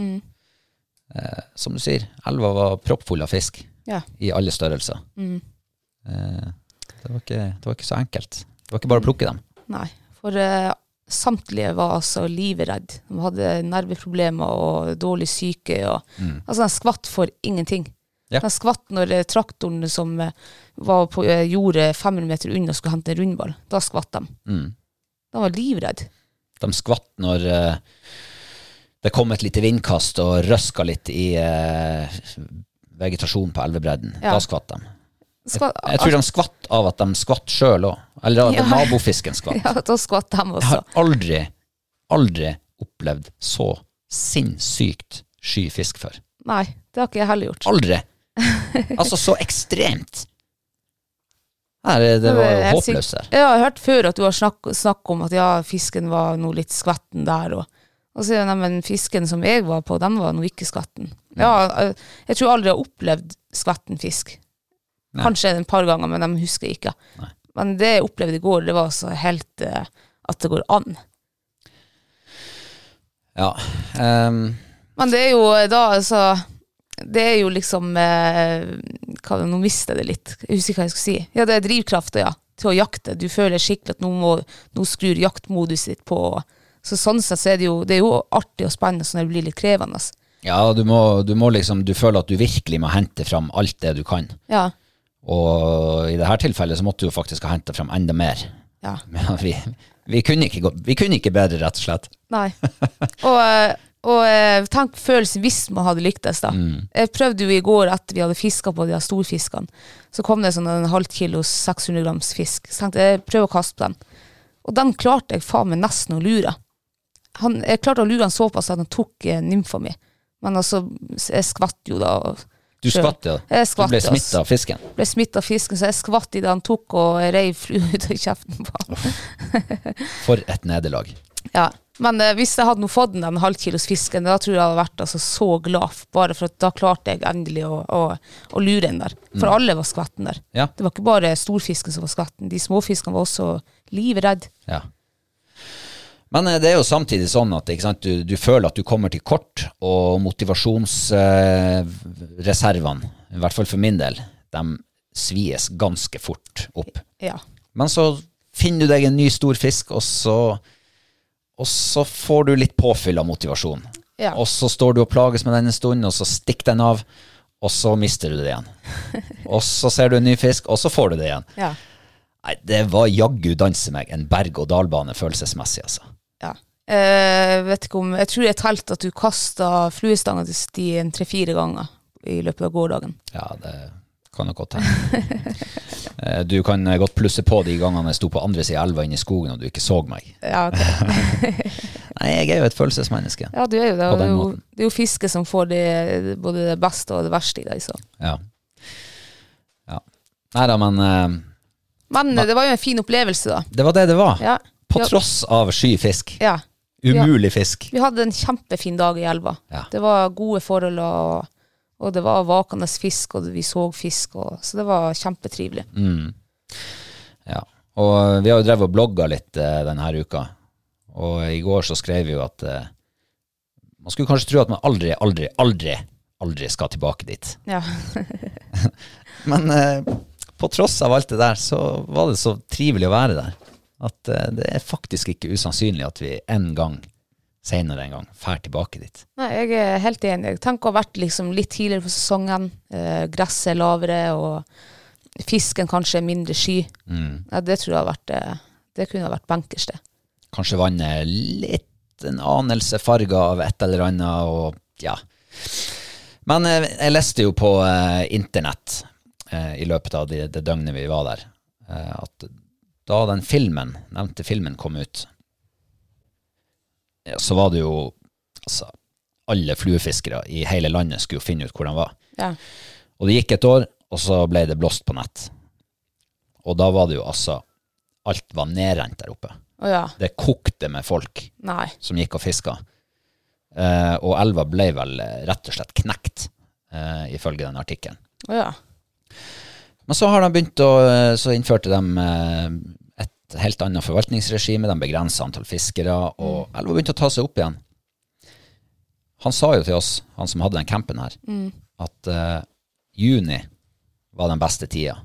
Speaker 1: Eh, som du sier, elva var proppfull av fisk.
Speaker 2: Ja.
Speaker 1: i alle størrelser. Eh, det, var ikke, det var ikke så enkelt. Det var ikke bare å plukke dem.
Speaker 2: Nei. For eh, samtlige var altså livredd. De hadde nerveproblemer og dårlig syke. Og, Altså, de skvatt for ingenting.
Speaker 1: Mm. Ja.
Speaker 2: De skvatt når eh, traktoren som eh, var på eh, jordet 500 meter unna, skulle hente en rundball. Da skvatt de.
Speaker 1: Mm.
Speaker 2: De var livredd.
Speaker 1: De skvatt når eh, det kom et lite vindkast og røska litt i eh, vegetasjonen på elvebredden.
Speaker 2: Ja.
Speaker 1: Da skvatt de.
Speaker 2: Skvatt,
Speaker 1: Jeg tror de skvatt av at de skvatt sjøl òg. Eller at
Speaker 2: Ja.
Speaker 1: nabofisken skvatt.
Speaker 2: ja, altså. da skvatt de
Speaker 1: Jeg
Speaker 2: også.
Speaker 1: har aldri, aldri opplevd så sinnssykt sky fisk før.
Speaker 2: Nei, det har ikke jeg heller gjort.
Speaker 1: Aldri! Altså, så ekstremt! Her, er- det var
Speaker 2: er
Speaker 1: jo
Speaker 2: helt
Speaker 1: håpløst
Speaker 2: sykt.
Speaker 1: her.
Speaker 2: Ja, jeg har hørt før at du har snakk, snakk om at ja, fisken var noe litt skvetten der. Og, og så sier jeg, nei, men fisken som jeg var på, den var nå ikke skvetten.
Speaker 1: Mm.
Speaker 2: Ja, jeg, jeg tror aldri jeg har opplevd skvetten fisk. Kanskje en par ganger, men de husker jeg ikke. Men det jeg opplevde i går, det var altså helt eh, at det går an.
Speaker 1: Ja. ehm,
Speaker 2: Men det er jo da, altså Det er jo liksom eh, hva, Nå mister jeg det litt. Jeg husker ikke hva jeg skulle si. Ja, det er drivkrafta, ja. Til å jakte. Du føler skikkelig at nå, må, nå skrur jaktmoduset ditt på. Så sånn sett så er det jo, det er jo artig og spennende når det blir litt krevende. altså.
Speaker 1: ja, du må, du må liksom Du føler at du virkelig må hente fram alt det du kan.
Speaker 2: Ja.
Speaker 1: Og i dette tilfellet så måtte du jo faktisk ha henta fram enda mer.
Speaker 2: ja.
Speaker 1: Men vi, vi, kunne ikke gå, vi kunne ikke bedre, rett og slett.
Speaker 2: Nei. Og, eh, og eh, tenk følelsen hvis man hadde lyktes, da.
Speaker 1: Mm.
Speaker 2: Jeg prøvde jo i går, etter vi hadde fiska på de her storfiskene, så kom det sånn en halv kilo 600 grams fisk. Så tenkte jeg prøv å kaste på den. Og den klarte jeg faen meg nesten å lure. Han, jeg klarte å lure han såpass at han tok eh, nymfa mi. Men altså, jeg skvatt jo da. og-
Speaker 1: Du skvatt, ja.
Speaker 2: Jeg skvatt,
Speaker 1: du ble
Speaker 2: ass.
Speaker 1: smitta av fisken.
Speaker 2: ble smitt av fisken, så jeg skvatt i det han tok og jeg reiv flua ut av kjeften på han.
Speaker 1: For et nederlag.
Speaker 2: Ja, men eh, hvis jeg hadde nå fått den den halvkilosfisken, da tror jeg jeg hadde vært altså, så glad, f- bare for at da klarte jeg endelig å, å, å lure den der. For alle var skvetten der.
Speaker 1: Mm. Ja.
Speaker 2: Det var ikke bare storfisken som var skvetten, de småfiskene var også livredd.
Speaker 1: Ja. Men eh, det er jo samtidig sånn at ikke sant, du, du føler at du kommer til kort, og motivasjonsreservene, eh, reservene, i hvert fall for min del, de svies ganske fort opp.
Speaker 2: Ja.
Speaker 1: Men så finner du deg en ny stor fisk, og så, og så får du litt påfyll av motivasjon.
Speaker 2: Ja.
Speaker 1: Og så står du og plages med den en stund, og så stikker den av, og så mister du det igjen. og så ser du en ny fisk, og så får du det igjen.
Speaker 2: Ja.
Speaker 1: Nei, det var jaggu danse meg en berg-og-dal-bane følelsesmessig, altså.
Speaker 2: ja. Eh, vet ikke om, jeg tror jeg telte at du kasta fluestanga til sti en tre-fire ganger i løpet av gårsdagen.
Speaker 1: Ja, det kan nok godt hende. Eh, du kan eh, godt plusse på de gangene jeg sto på andre sida av elva inne i skogen og du ikke så meg.
Speaker 2: Ja, ok.
Speaker 1: Nei, jeg er jo et følelsesmenneske.
Speaker 2: ja, du er jo det.
Speaker 1: På
Speaker 2: og Det er
Speaker 1: den
Speaker 2: jo,
Speaker 1: måten.
Speaker 2: det er jo fiske som får det, både det beste og det verste i deg. Så.
Speaker 1: Ja. ja. Nei da, men eh,
Speaker 2: Men eh, det var jo en fin opplevelse, da.
Speaker 1: det var det det var.
Speaker 2: Ja.
Speaker 1: På
Speaker 2: Ja.
Speaker 1: tross av sky fisk.
Speaker 2: Ja.
Speaker 1: Umulig fisk.
Speaker 2: Vi hadde en kjempefin dag i elva.
Speaker 1: Ja.
Speaker 2: Det var gode forhold, og, og det var vakende fisk, og vi så fisk, og, så det var kjempetrivelig.
Speaker 1: Ja. Og eh, vi har jo drevet og blogga litt eh, denne uka, og i går så skrev vi jo at eh, man skulle kanskje tro at man aldri, aldri, aldri, aldri skal tilbake dit.
Speaker 2: Ja.
Speaker 1: Men eh, på tross av alt det der, så var det så trivelig å være der. At eh, det er faktisk ikke usannsynlig at vi en gang, senere en gang, fær tilbake dit.
Speaker 2: Nei, jeg er helt enig. Jeg tenker å ha vært liksom litt tidligere på sesongen. Eh, gresset er lavere, og fisken kanskje er mindre sky. Ja, det tror jeg har vært eh, Det kunne ha vært benkers, det.
Speaker 1: Kanskje vannet er litt en anelse farga av et eller annet, og ja. Men eh, jeg leste jo på eh, internett eh, i løpet av det, det døgnet vi var der, eh, at da den filmen, nevnte filmen kom ut, ja, så var det jo altså, Alle fluefiskere i hele landet skulle jo finne ut hvor de var.
Speaker 2: Ja.
Speaker 1: Og det gikk et år, og så ble det blåst på nett. Og da var det jo altså Alt var nedrent der oppe.
Speaker 2: Å ja.
Speaker 1: Det kokte med folk
Speaker 2: Nei.
Speaker 1: som gikk og fiska. Eh, og elva ble vel eh, rett og slett knekt, eh, ifølge den artikkelen.
Speaker 2: Å ja.
Speaker 1: Men så har de begynt å eh, Så innførte de eh, et helt annet forvaltningsregime. De begrensa antall fiskere, og elva begynte å ta seg opp igjen. Han sa jo til oss, han som hadde den campen her, at eh, juni var den beste tida.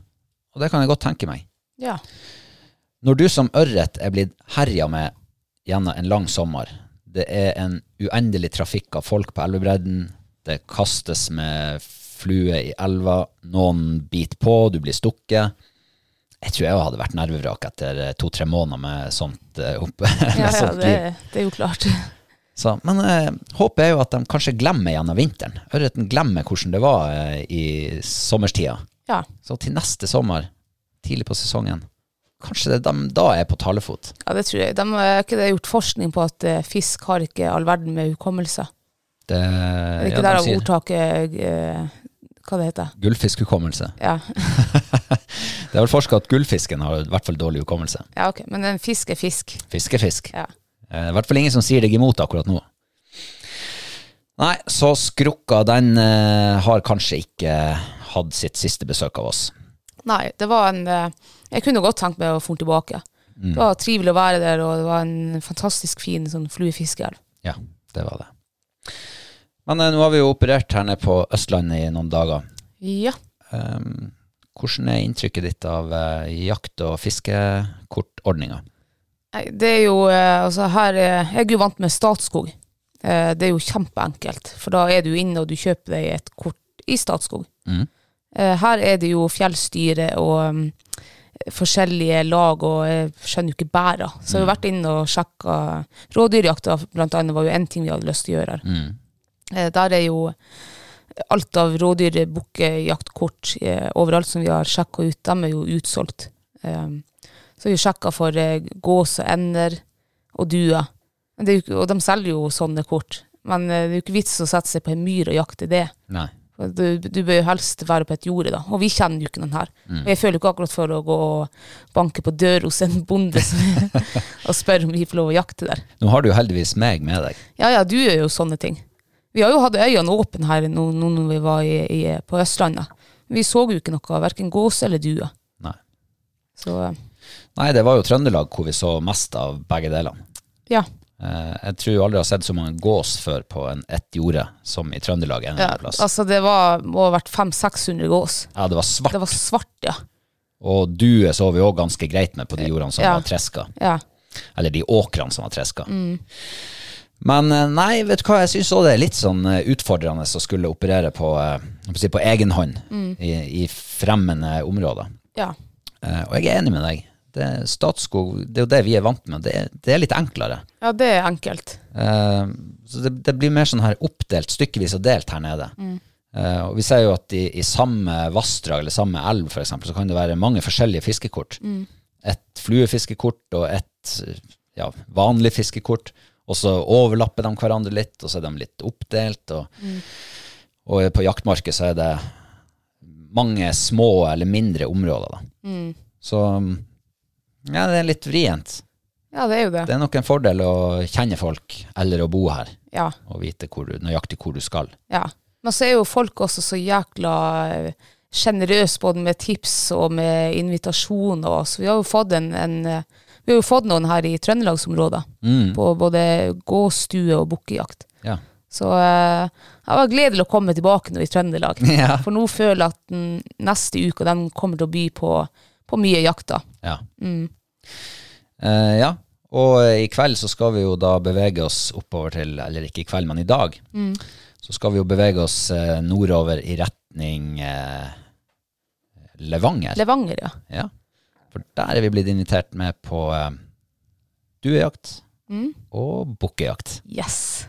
Speaker 1: Og det kan jeg godt tenke meg.
Speaker 2: Ja.
Speaker 1: Når du som ørret er blitt herja med gjennom en lang sommer, det er en uendelig trafikk av folk på elvebredden, det kastes med flue i elva, noen biter på, du blir stukket. Jeg tror jeg hadde vært nervevrak etter eh, to-tre måneder med sånt eh, oppe. med
Speaker 2: ja, ja
Speaker 1: sånt
Speaker 2: det,
Speaker 1: liv.
Speaker 2: det er jo klart.
Speaker 1: Så, men eh, håpet er jo at de kanskje glemmer gjennom vinteren. Ørreten glemmer hvordan det var eh, i sommerstida.
Speaker 2: Ja.
Speaker 1: Så til neste sommer, tidlig på sesongen, kanskje det er de da er på talefot.
Speaker 2: Ja, det tror jeg. De har ikke det gjort forskning på at eh, fisk har ikke all verden med hukommelse.
Speaker 1: Det,
Speaker 2: Er det
Speaker 1: eh, ja,
Speaker 2: ikke
Speaker 1: de
Speaker 2: derav
Speaker 1: sier
Speaker 2: ordtaket eh, Hva det heter
Speaker 1: Gullfiskhukommelse.
Speaker 2: Ja.
Speaker 1: Det er vel forska at gullfisken har i hvert fall dårlig hukommelse.
Speaker 2: ja, ok. Men en fisk er fisk.
Speaker 1: Fiskefisk.
Speaker 2: Ja.
Speaker 1: Eh, I hvert fall ingen som sier deg imot akkurat nå. Nei, så skrukka den eh, har kanskje ikke hatt sitt siste besøk av oss.
Speaker 2: Nei, det var en eh, Jeg kunne godt tenkt meg å få den tilbake.
Speaker 1: Mm.
Speaker 2: Det var trivelig å være der, og det var en fantastisk fin sånn fluefiskeelv.
Speaker 1: Ja, det var det. Men eh, nå har vi jo operert her nede på Østlandet i noen dager.
Speaker 2: Ja.
Speaker 1: Ehm, hvordan er inntrykket ditt av eh, jakt- og fiskekortordninga?
Speaker 2: Nei, det er jo eh, Altså, her eh, Jeg er jo vant med Statskog. Eh, Det er jo kjempeenkelt, for da er du inne og du kjøper deg et kort i Statskog.
Speaker 1: Mm.
Speaker 2: Eh, Her er det jo fjellstyre og mm, forskjellige lag, og jeg skjønner jo ikke bæra. Så
Speaker 1: Mm.
Speaker 2: jeg har vært inne og sjekka rådyrjakta, blant annet, var jo en ting vi hadde lyst til å gjøre her.
Speaker 1: Mm.
Speaker 2: Eh, Der er jo alt av rådyr, bukkejaktkort eh, overalt som vi har sjekka ut, dem er jo utsolgt. Um, så vi sjekka for eh, gås og ender og duer. Men det er jo, ikke- og de selger jo sånne kort. Men eh, det er jo ikke vits å sette seg på en myr og jakte det.
Speaker 1: Nei.
Speaker 2: For Du, du bør jo helst være på et jorde, da. Og vi kjenner jo ikke noen her. Og jeg føler jo ikke akkurat for å gå og banke på dør hos en bonde som, og spørre om vi får lov å jakte der.
Speaker 1: Nå har du jo heldigvis meg med deg.
Speaker 2: Ja ja, du gjør jo sånne ting. Vi har jo hatt øynene åpne her nå, nå når vi var i, i, på Østlandet. Vi så jo ikke noe, verken gåse eller due.
Speaker 1: Nei.
Speaker 2: Så
Speaker 1: Nei, det var jo Trøndelag hvor vi så mest av begge delene.
Speaker 2: ja.
Speaker 1: Eh, jeg tror jeg aldri har sett så mange gås før på en ett jorde som i Trøndelag. En eller
Speaker 2: ja
Speaker 1: annen plass.
Speaker 2: altså, det var, må ha vært 500-600 gås.
Speaker 1: ja, det var svart,
Speaker 2: Det var svart, ja.
Speaker 1: og due så vi òg ganske greit med på de jordene som
Speaker 2: Ja.
Speaker 1: var treska.
Speaker 2: ja.
Speaker 1: Eller de åkrene som var treska.
Speaker 2: Mm.
Speaker 1: Men eh, nei, vet du hva, jeg syns òg det er litt sånn eh, utfordrende å skulle operere på, eh, jeg holdt på å si på egen hånd
Speaker 2: Mm.
Speaker 1: i, i fremmede områder.
Speaker 2: ja.
Speaker 1: Eh, og jeg er enig med deg. Det, Statskog, det er jo det vi er vant med. Det, er- det er litt enklere.
Speaker 2: Ja, det er enkelt.
Speaker 1: Eh, så det, det blir mer sånn her oppdelt, stykkevis og delt her nede. Eh, og vi ser jo at i, i samme vassdrag eller samme elv for eksempel, så kan det være mange forskjellige fiskekort. Et fluefiskekort og et ja, vanlig fiskekort. Og så overlapper de hverandre litt, og så er de litt oppdelt. Og, og på jaktmarkedet så er det mange små eller mindre områder. Da. Så ja, det er litt vrient.
Speaker 2: Ja, det er jo det.
Speaker 1: Det er nok en fordel å kjenne folk eller å bo her
Speaker 2: Ja,
Speaker 1: og vite hvor du, nøyaktig hvor du skal.
Speaker 2: ja. Men så er jo folk også så jækla sjenerøse både med tips og med invitasjoner. og Så vi har jo fått, en, en, eh, vi har jo fått noen her i trøndelagsområdet
Speaker 1: Mm.
Speaker 2: på både gåstue og bukkejakt.
Speaker 1: Ja.
Speaker 2: Så eh, jeg var gleder til å komme tilbake nå i Trøndelag.
Speaker 1: Ja.
Speaker 2: For nå føler jeg at den neste uke den kommer til å by på, på mye jakter.
Speaker 1: Ja. Eh, ja. Og eh, i kveld så skal vi jo da bevege oss oppover til, eller ikke i kveld, men i dag, så skal vi jo bevege oss eh, nordover i retning eh, Levanger.
Speaker 2: Levanger, ja.
Speaker 1: ja. For der er vi blitt invitert med på eh, duejakt og bukkejakt.
Speaker 2: Yes.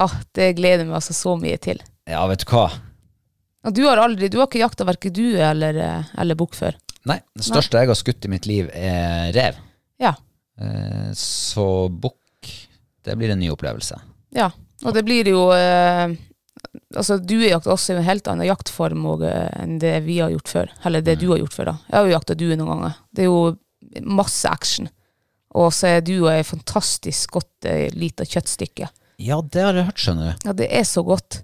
Speaker 2: Ah, det gleder jeg meg altså så mye til.
Speaker 1: Ja, vet du hva?
Speaker 2: Og du har aldri, du har ikke jakta verken du eller, eh, eller bukk før.
Speaker 1: Nei, det største jeg har skutt i mitt liv er rev.
Speaker 2: Ja.
Speaker 1: Eh, Så bukk Det blir en ny opplevelse.
Speaker 2: Ja, og det blir jo eh, Altså, duejakt er også en helt annen jaktform og, eh, enn det vi har gjort før. Eller det du har gjort før, da. Jeg har jo jakta due noen ganger. Det er jo masse action. Og så er dua et fantastisk godt eh, lite kjøttstykke.
Speaker 1: Ja, det har jeg hørt, skjønner du.
Speaker 2: Ja, det er så godt.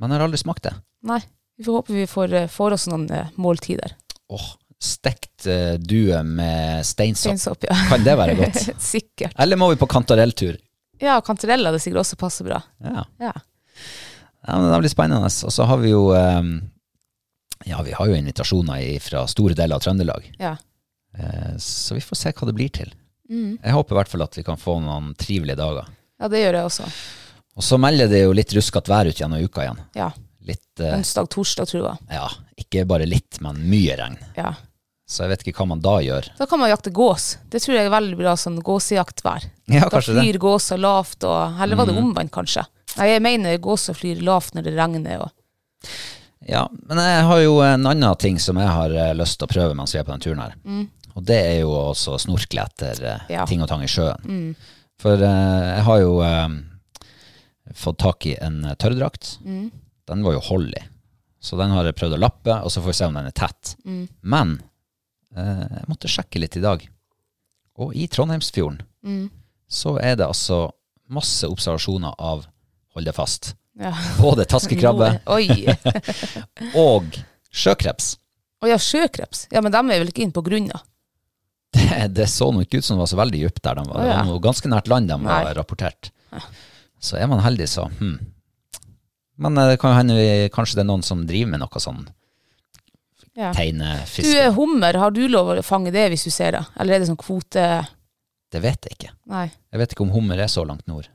Speaker 1: Men jeg har aldri smakt det.
Speaker 2: Nei, vi får håpe vi får, eh, får oss noen eh, måltider.
Speaker 1: Åh, stekt eh, due med steinsopp.
Speaker 2: Steinsopp, ja.
Speaker 1: Kan det være godt?
Speaker 2: Sikkert.
Speaker 1: Eller må vi på kantarelltur?
Speaker 2: Ja, kantarell hadde sikkert også passet bra.
Speaker 1: Ja.
Speaker 2: Ja.
Speaker 1: ja, men det blir spennende. Og så har vi jo ehm, Ja, vi har jo invitasjoner fra store deler av Trøndelag.
Speaker 2: ja.
Speaker 1: Eh, Så vi får se hva det blir til. Jeg håper i hvert fall at vi kan få noen trivelige dager.
Speaker 2: Ja, det gjør jeg også.
Speaker 1: Og så melder det jo litt ruskete vær ut gjennom uka igjen.
Speaker 2: Ja.
Speaker 1: Litt, eh,
Speaker 2: Onsdag, torsdag, tror jeg.
Speaker 1: ja, ikke bare litt, men mye regn.
Speaker 2: Ja.
Speaker 1: Så jeg vet ikke hva man da gjør.
Speaker 2: Da kan man jakte gås. Det tror jeg er veldig bra sånn gåsejaktvær.
Speaker 1: Ja,
Speaker 2: Da
Speaker 1: kanskje det. Mm.
Speaker 2: flyr gåsa lavt, og Eller var det omvendt, kanskje? Nei, jeg mener gåsa flyr lavt når det regner. Og,
Speaker 1: Ja, men jeg har jo en annen ting som jeg har eh, lyst til å prøve mens vi er på denne turen her. Og det er jo også å snorkle etter eh,
Speaker 2: Ja.
Speaker 1: ting og tang i sjøen. For eh, jeg har jo eh, fått tak i en eh, tørrdrakt. Den var jo hold i. Så den har jeg prøvd å lappe, og så får vi se om den er tett. Men eh, jeg måtte sjekke litt i dag. Og i Trondheimsfjorden så er det altså masse observasjoner av hold deg fast.
Speaker 2: ja.
Speaker 1: Både taskekrabbe
Speaker 2: Oi.
Speaker 1: og sjøkreps.
Speaker 2: Å ja, sjøkreps. Ja, men dem er vel ikke inne på grunna?
Speaker 1: Det, det så nå ikke ut som det var så veldig dypt der de var.
Speaker 2: Å, ja.
Speaker 1: Det var noe ganske nært land de var
Speaker 2: Nei.
Speaker 1: rapportert. Så er man heldig, så hm. Men eh, det kan jo hende vi, kanskje det er noen som driver med noe sånn
Speaker 2: Ja. Du
Speaker 1: tegnefiske.
Speaker 2: er hummer, har du lov å fange det hvis du ser det? Eller er det sånn kvote
Speaker 1: Det vet jeg ikke.
Speaker 2: Nei,
Speaker 1: Jeg vet ikke om hummer er så langt nord.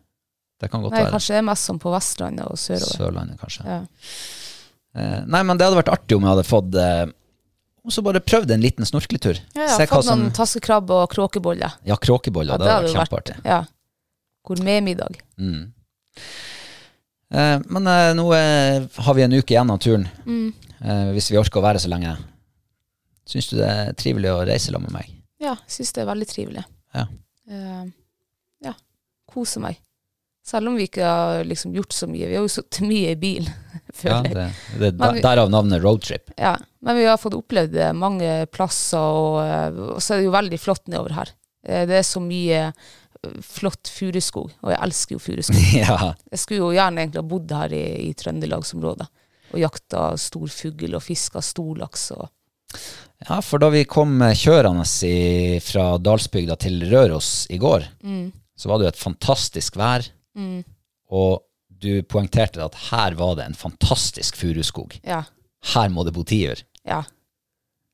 Speaker 1: Det kan godt
Speaker 2: Nei
Speaker 1: være
Speaker 2: kanskje det er mest sånn på Vestlandet og sørover.
Speaker 1: Sørlandet, kanskje.
Speaker 2: Ja.
Speaker 1: Eh, nei, men det hadde vært artig om jeg hadde fått eh, Og så bare prøvd en liten snorkletur.
Speaker 2: Ja, ja,
Speaker 1: Se hva
Speaker 2: fått
Speaker 1: som
Speaker 2: noen taskekrabbe og kråkeboller.
Speaker 1: Ja, kråkeboller.
Speaker 2: Ja,
Speaker 1: det hadde vært
Speaker 2: jo
Speaker 1: kjempeartig.
Speaker 2: Ja. Gourmetmiddag.
Speaker 1: Mm. Eh, men eh, nå eh, har vi en uke igjen av turen, eh, hvis vi orker å være så lenge. Syns du det er trivelig å reise sammen med meg?
Speaker 2: Ja, syns det er veldig trivelig.
Speaker 1: Ja.
Speaker 2: Eh, ja, koser meg. Selv om vi ikke har liksom gjort så mye. Vi har jo sittet mye i bil,
Speaker 1: Ja,
Speaker 2: føler jeg.
Speaker 1: det, det,
Speaker 2: Men vi-
Speaker 1: derav navnet roadtrip.
Speaker 2: Ja, men vi har fått opplevd eh, mange plasser, og, eh, og så er det jo veldig flott nedover her. Eh, Det er så mye eh, flott furuskog, og jeg elsker jo furuskog.
Speaker 1: ja.
Speaker 2: Jeg skulle jo gjerne egentlig ha bodd her i, i Trøndelagsområdet og jakta stor fugl og fiska storlaks og
Speaker 1: ja, for da vi kom eh, kjørende i, fra Dalsbygda til Røros i går, så var det jo et fantastisk vær, Mm. og du poengterte at her var det en fantastisk furuskog.
Speaker 2: Ja.
Speaker 1: Her må det bo tiur.
Speaker 2: ja.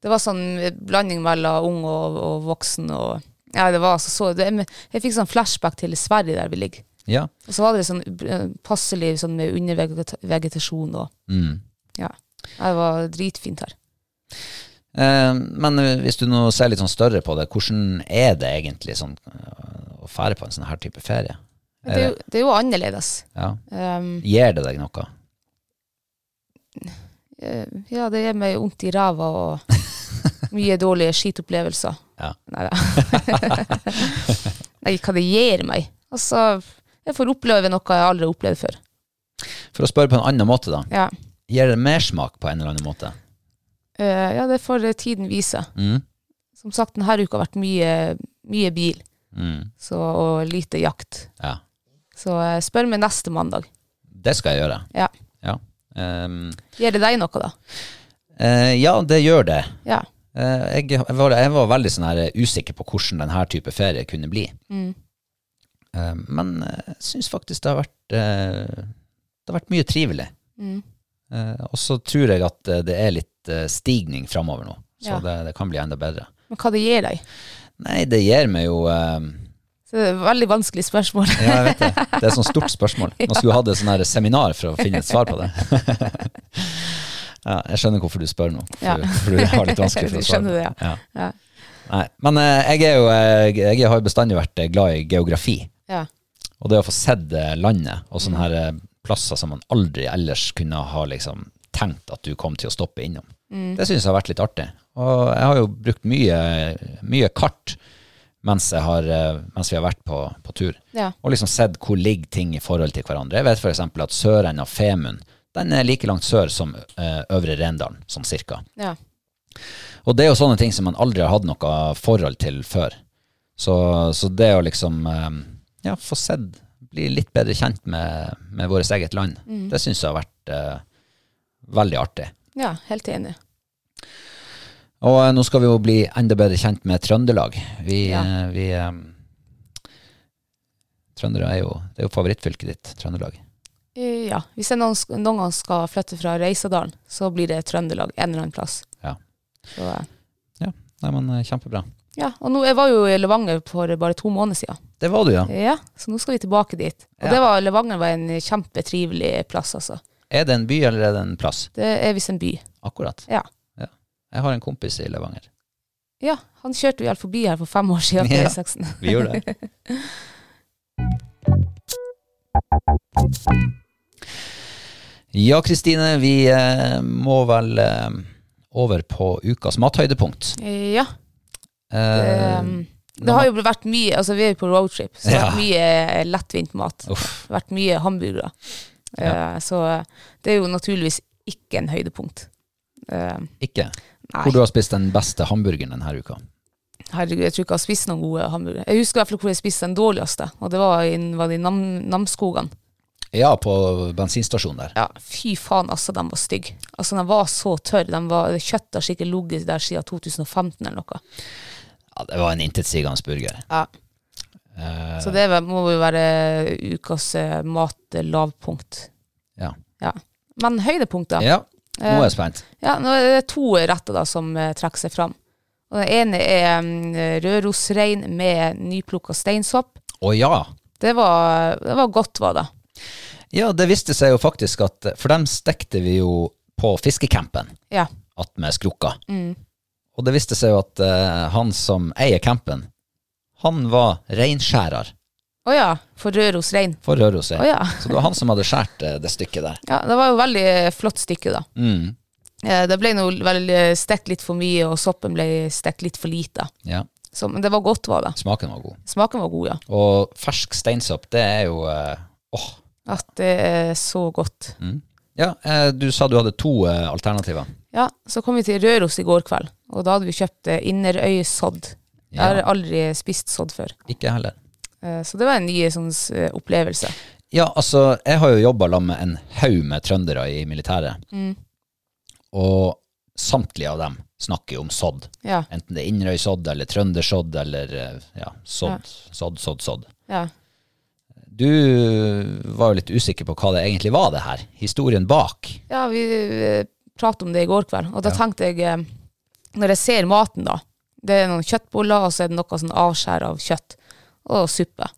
Speaker 2: Det var sånn blanding mellom ung og, og voksen og Ja, det var altså så det, men Jeg fikk sånn flashback til Sverige der vi ligger.
Speaker 1: Ja.
Speaker 2: Og så var det sånn eh, passelig sånn med undervegetasjon og
Speaker 1: Mm.
Speaker 2: Ja. Ja, Det var dritfint her.
Speaker 1: Eh, Men eh, hvis du nå ser litt sånn større på det, hvordan er det egentlig sånn eh, å fære på en sånn her type ferie?
Speaker 2: Men Det er jo, det er jo annerledes.
Speaker 1: Ja.
Speaker 2: Um,
Speaker 1: Gir det deg noe?
Speaker 2: eh, ja, det gjør meg vondt i ræva og mye dårlige skitopplevelser.
Speaker 1: Ja.
Speaker 2: Nei Nei, hva det gir meg. Altså, jeg får oppleve noe jeg aldri har opplevd før.
Speaker 1: For å spørre på en annen måte, da.
Speaker 2: Ja,
Speaker 1: Gir det mersmak på en eller annen måte?
Speaker 2: Eh, ja det får eh, tiden vise.
Speaker 1: Mm.
Speaker 2: Som sagt, denne uka har vært mye, mye bil
Speaker 1: Mm.
Speaker 2: så, og lite jakt.
Speaker 1: Ja.
Speaker 2: Så eh, spør meg neste mandag.
Speaker 1: Det skal jeg gjøre.
Speaker 2: Ja.
Speaker 1: Ja, Ehm,
Speaker 2: Gir det deg noe, da?
Speaker 1: eh, ja det gjør det.
Speaker 2: Ja.
Speaker 1: Eh, jeg, jeg, var, jeg var veldig sånn her, eh, usikker på hvordan denne type ferie kunne bli. Eh, men eh, jeg syns faktisk det har vært, eh, det har vært mye trivelig. Eh, og så tror jeg at eh, det er litt eh, stigning framover nå, så
Speaker 2: Ja.
Speaker 1: det, det kan bli enda bedre.
Speaker 2: Men hva det gir deg?
Speaker 1: Nei, det gir meg jo eh,
Speaker 2: Så det er et veldig vanskelig spørsmål.
Speaker 1: Ja, jeg vet det. Det er et sånt stort spørsmål. Man skulle hatt et sånn her seminar for å finne et svar på det. ja, jeg skjønner hvorfor du spør nå, for,
Speaker 2: Ja.
Speaker 1: for du har litt vanskelig for å
Speaker 2: Du
Speaker 1: svare.
Speaker 2: skjønner det,
Speaker 1: på. ja.
Speaker 2: Ja.
Speaker 1: Nei, men eh, jeg, er jo, eh, jeg har jo bestandig vært eh, glad i geografi.
Speaker 2: Ja.
Speaker 1: Og det å få sett eh, landet og sånne her eh, plasser som man aldri ellers kunne ha liksom, tenkt at du kom til å stoppe innom.
Speaker 2: Mm.
Speaker 1: Det syns jeg har vært litt artig. Og jeg har jo brukt mye, mye kart, mens, jeg har, eh, mens vi har vært på, på tur.
Speaker 2: Ja.
Speaker 1: Og liksom sett hvor ligger ting i forhold til hverandre. Jeg vet f.eks. at Søren av Femund den er like langt sør som eh, Øvre Rendalen, sånn cirka.
Speaker 2: Ja.
Speaker 1: Og det er jo sånne ting som man aldri har hatt noe forhold til før. Så, så det å liksom eh, ja, få sett, bli litt bedre kjent med, med vårt eget land,
Speaker 2: Mm.
Speaker 1: det syns jeg har vært eh, veldig artig.
Speaker 2: ja, helt enig.
Speaker 1: Og eh, nå skal vi jo bli enda bedre kjent med Trøndelag. Vi,
Speaker 2: Ja.
Speaker 1: eh, vi eh, Trøndere er jo, det er jo favorittfylket ditt, Trøndelag.
Speaker 2: Eh, Ja, Hvis jeg noen, sk- noen gang skal flytte fra Reisadalen, så blir det Trøndelag en eller annen plass.
Speaker 1: Ja.
Speaker 2: Så, eh,
Speaker 1: Nei, men eh, kjempebra.
Speaker 2: ja. Og nå, jeg var jo i Levanger for bare to måneder siden.
Speaker 1: Det var du, ja.
Speaker 2: Ja, så nå skal vi tilbake dit. Og
Speaker 1: Ja.
Speaker 2: det var, Levanger var en kjempetrivelig plass, altså.
Speaker 1: Er det en by eller er det en plass?
Speaker 2: Det er visst en by.
Speaker 1: Akkurat.
Speaker 2: Ja.
Speaker 1: Jeg har en kompis i Levanger.
Speaker 2: ja, han kjørte jo helt forbi her for fem år siden på
Speaker 1: Ja.
Speaker 2: E16.
Speaker 1: Vi gjør det. Ja, Kristine, vi eh, må vel eh, over på ukas mathøydepunkt.
Speaker 2: Ja.
Speaker 1: Eh,
Speaker 2: ehm, det har jo vært mye Altså, vi er jo på roadtrip, så det har vært mye eh, lettvint mat.
Speaker 1: uff,
Speaker 2: vært mye hamburgere. Eh, Så det er jo naturligvis ikke en høydepunkt. Eh,
Speaker 1: ikke.
Speaker 2: nei,
Speaker 1: Hvor du har spist den beste hamburgeren denne uka?
Speaker 2: herregud, jeg tror ikke jeg har spist noen gode hamburgere. Jeg husker i hvert fall hvor jeg spiste den dårligste, og det var i, var det i Nam, Namsskogan.
Speaker 1: Ja, på bensinstasjonen der.
Speaker 2: Ja, fy faen, altså, den var stygg. Altså, den var så tørr. Den var, kjøttet har sikkert ligget der siden 2015 eller noe.
Speaker 1: Ja, det var en intetsigende burger.
Speaker 2: Så det var- må jo være ukas eh, matlavpunkt.
Speaker 1: Ja.
Speaker 2: Ja. Men høydepunkter
Speaker 1: ja, nå
Speaker 2: Ehm.
Speaker 1: er jeg spent.
Speaker 2: Ja, nå er det to retter da som eh, trekker seg fram. Og den ene er mm, rørosrein med nyplukka steinsopp.
Speaker 1: Å ja!
Speaker 2: Det var, det var godt, var det.
Speaker 1: Ja, det viste seg jo faktisk at For dem stekte vi jo på fiskecampen
Speaker 2: Ja.
Speaker 1: attmed skrukka.
Speaker 2: Mm.
Speaker 1: Og det viste seg jo at eh, han som eier campen, han var reinskjærer
Speaker 2: Å ja, for rørosrein.
Speaker 1: for Rørosøy.
Speaker 2: Å ja.
Speaker 1: Så det var han som hadde skåret det stykket der.
Speaker 2: ja. Det var jo veldig eh, flott stykke, da.
Speaker 1: Mm.
Speaker 2: Eh, Det ble nå vel eh, stekt litt for mye, og soppen ble stekt litt for lite.
Speaker 1: Ja,
Speaker 2: Så, men det var godt, var det.
Speaker 1: smaken var god.
Speaker 2: Smaken var god, ja.
Speaker 1: Og fersk steinsopp, det er jo eh, Åh.
Speaker 2: At det er så godt.
Speaker 1: Ja, eh, du sa du hadde to eh, alternativer.
Speaker 2: Ja, så kom vi til Røros i går kveld, og da hadde vi kjøpt eh, Inderøy-sodd. Jeg
Speaker 1: Ja.
Speaker 2: har aldri spist sodd før.
Speaker 1: Ikke jeg heller.
Speaker 2: Eh, Så det var en ny sånn, s- eh, opplevelse.
Speaker 1: Ja, altså, jeg har jo jobba sammen med en haug med trøndere i militæret. Og samtlige av dem snakker jo om sodd.
Speaker 2: Ja,
Speaker 1: Enten det er Inderøysodd eller Trøndersodd eller eh, ja, sodd, sodd, sodd, sodd.
Speaker 2: ja.
Speaker 1: Du var jo litt usikker på hva det egentlig var, det her. Historien bak.
Speaker 2: ja vi eh, pratet om det i går kveld, og da tenkte jeg, eh, når jeg ser maten da, det er noen kjøttboller, og så er det noe sånn avskjær av kjøtt, og suppe.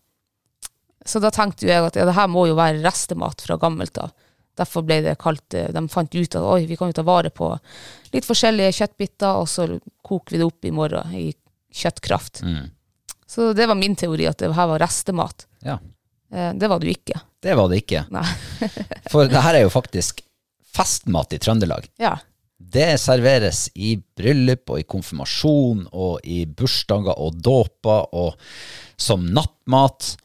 Speaker 2: Så da tenkte jo jeg at ja, det her må jo være restemat fra gammelt av. Derfor ble det kalt, eh, de fant ut at oi, vi kan jo ta vare på litt forskjellige kjøttbitter, og så koker vi det opp i morgen i kjøttkraft. Så det var min teori at det her var restemat.
Speaker 1: Ja,
Speaker 2: Eh, Det var det jo ikke.
Speaker 1: det var det ikke.
Speaker 2: Nei.
Speaker 1: For det her er jo faktisk festmat i Trøndelag.
Speaker 2: Ja.
Speaker 1: Det serveres i bryllup og i konfirmasjon og i bursdager og dåper og som nattmat.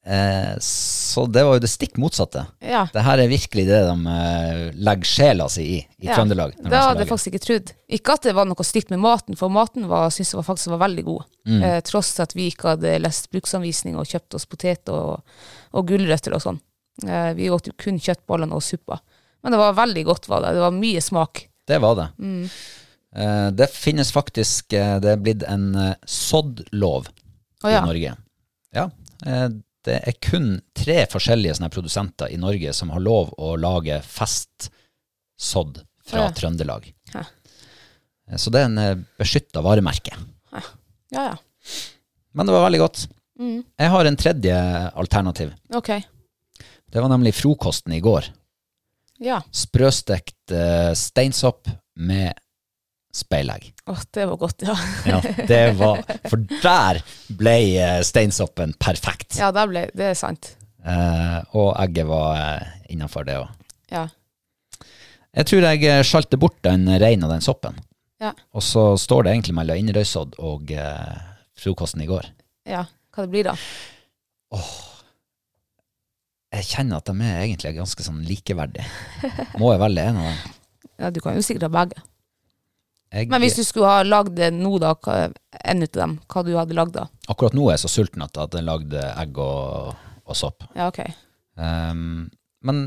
Speaker 1: Eh, så det var jo det stikk motsatte.
Speaker 2: ja.
Speaker 1: Det her er virkelig det de eh, legger sjela si i i
Speaker 2: ja.
Speaker 1: Trøndelag. når de
Speaker 2: Det
Speaker 1: skal
Speaker 2: hadde
Speaker 1: lage
Speaker 2: jeg faktisk ikke trodd. Ikke at det var noe stygt med maten, for maten var, synes jeg var faktisk var veldig god.
Speaker 1: Mm.
Speaker 2: Eh, tross at vi ikke hadde lest bruksanvisning og kjøpt oss poteter og, og gulrøtter og sånn. Eh, vi åt jo kun kjøttbollene og suppa. Men det var veldig godt, var det. Det var mye smak.
Speaker 1: Det var det.
Speaker 2: Mm.
Speaker 1: Eh, det finnes faktisk eh, Det er blitt en eh, soddlov
Speaker 2: Å
Speaker 1: i
Speaker 2: ja.
Speaker 1: Norge. Ja. eh, det er kun tre forskjellige sånne her produsenter i Norge som har lov å lage festsodd fra
Speaker 2: Å ja.
Speaker 1: Trøndelag.
Speaker 2: Ja.
Speaker 1: Eh, Så det er en beskytta varemerke.
Speaker 2: Ja, ja.
Speaker 1: Men det var veldig godt.
Speaker 2: Mm.
Speaker 1: Jeg har en tredje alternativ.
Speaker 2: Ok.
Speaker 1: Det var nemlig frokosten i går.
Speaker 2: Ja.
Speaker 1: Sprøstekt eh, steinsopp med speilegg.
Speaker 2: Å, det var godt, ja.
Speaker 1: Ja, det var For der ble eh, steinsoppen perfekt.
Speaker 2: Ja, det, ble, det er sant.
Speaker 1: Eh, og egget var eh, innafor det òg.
Speaker 2: Ja.
Speaker 1: Jeg tror jeg eh, sjalte bort den reinen og den soppen.
Speaker 2: Ja.
Speaker 1: Og så står det egentlig mellom Inderøysodd og eh, frokosten i går.
Speaker 2: Ja, hva det blir da?
Speaker 1: Jeg kjenner at de er egentlig ganske sånn likeverdige. Må jeg velge en av dem?
Speaker 2: Ja, du kan jo sikkert ha begge.
Speaker 1: Jeg,
Speaker 2: Men hvis du skulle ha lagd det nå, da, hva- en ut av dem, hva du hadde lagd da?
Speaker 1: Akkurat nå er jeg så sulten at at jeg lagde egg og, og sopp.
Speaker 2: Ja, ok.
Speaker 1: Ehm, men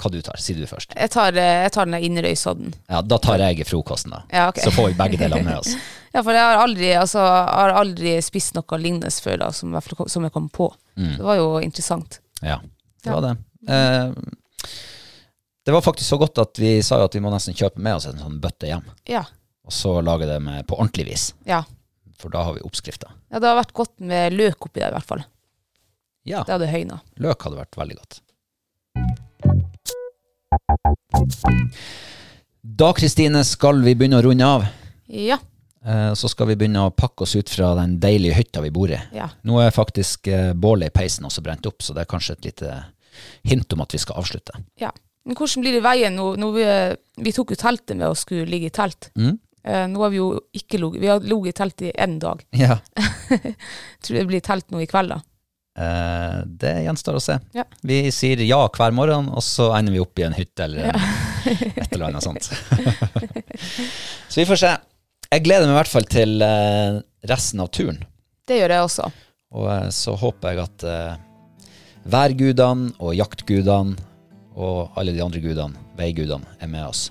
Speaker 1: hva du tar, sier du først.
Speaker 2: Jeg tar, eh, jeg tar den der innrøysodden.
Speaker 1: Ja, da tar jeg frokosten, da.
Speaker 2: Ja, ok.
Speaker 1: Så får vi begge delene med oss.
Speaker 2: Ja, for jeg har aldri, altså, har aldri spist noe lignende før, da, som, i hvert fall kom- som jeg kom på. Det var jo interessant.
Speaker 1: Ja, det var det. Ehm, det var faktisk så godt at vi sa jo at vi må nesten kjøpe med oss en sånn bøtte hjem.
Speaker 2: Ja.
Speaker 1: Og så lage det med på ordentlig vis,
Speaker 2: Ja.
Speaker 1: for da har vi oppskrifta.
Speaker 2: ja, det har vært godt med løk oppi der, i hvert fall.
Speaker 1: Ja,
Speaker 2: Det hadde høyna.
Speaker 1: løk hadde vært veldig godt. Da, Kristine, skal vi begynne å runde av.
Speaker 2: Ja.
Speaker 1: Eh, Så skal vi begynne å pakke oss ut fra den deilige hytta vi bor i.
Speaker 2: Ja.
Speaker 1: Nå er faktisk eh, bålet i peisen også brent opp, så det er kanskje et lite hint om at vi skal avslutte.
Speaker 2: ja. Men hvordan blir det i veien nå? nå vi, vi tok jo teltet med og skulle ligge i telt. Eh, nå har vi jo ikke ligget Vi har ligget i telt i én dag.
Speaker 1: Ja.
Speaker 2: Tror det blir telt nå i kveld, da.
Speaker 1: Eh, Det gjenstår å se.
Speaker 2: Ja.
Speaker 1: Vi sier ja hver morgen, og så ender vi opp i en hytte eller et eller annet sånt. så vi får se. Jeg gleder meg i hvert fall til eh, resten av turen.
Speaker 2: Det gjør jeg også.
Speaker 1: Og eh, så håper jeg at eh, værgudene og jaktgudene og alle de andre gudene, veigudene, er med oss.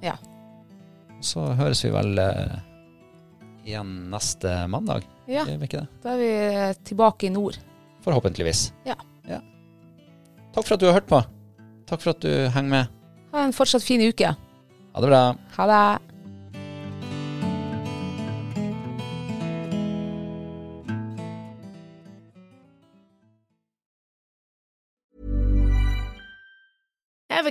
Speaker 2: Ja.
Speaker 1: Så høres vi vel eh, igjen neste mandag,
Speaker 2: Ja,
Speaker 1: gjør vi ikke det?
Speaker 2: da er vi eh, tilbake i nord.
Speaker 1: Forhåpentligvis.
Speaker 2: Ja.
Speaker 1: Takk for at du har hørt på. Takk for at du henger med.
Speaker 2: Ha en fortsatt fin uke.
Speaker 1: Ha det bra.
Speaker 2: Ha det.
Speaker 3: Ever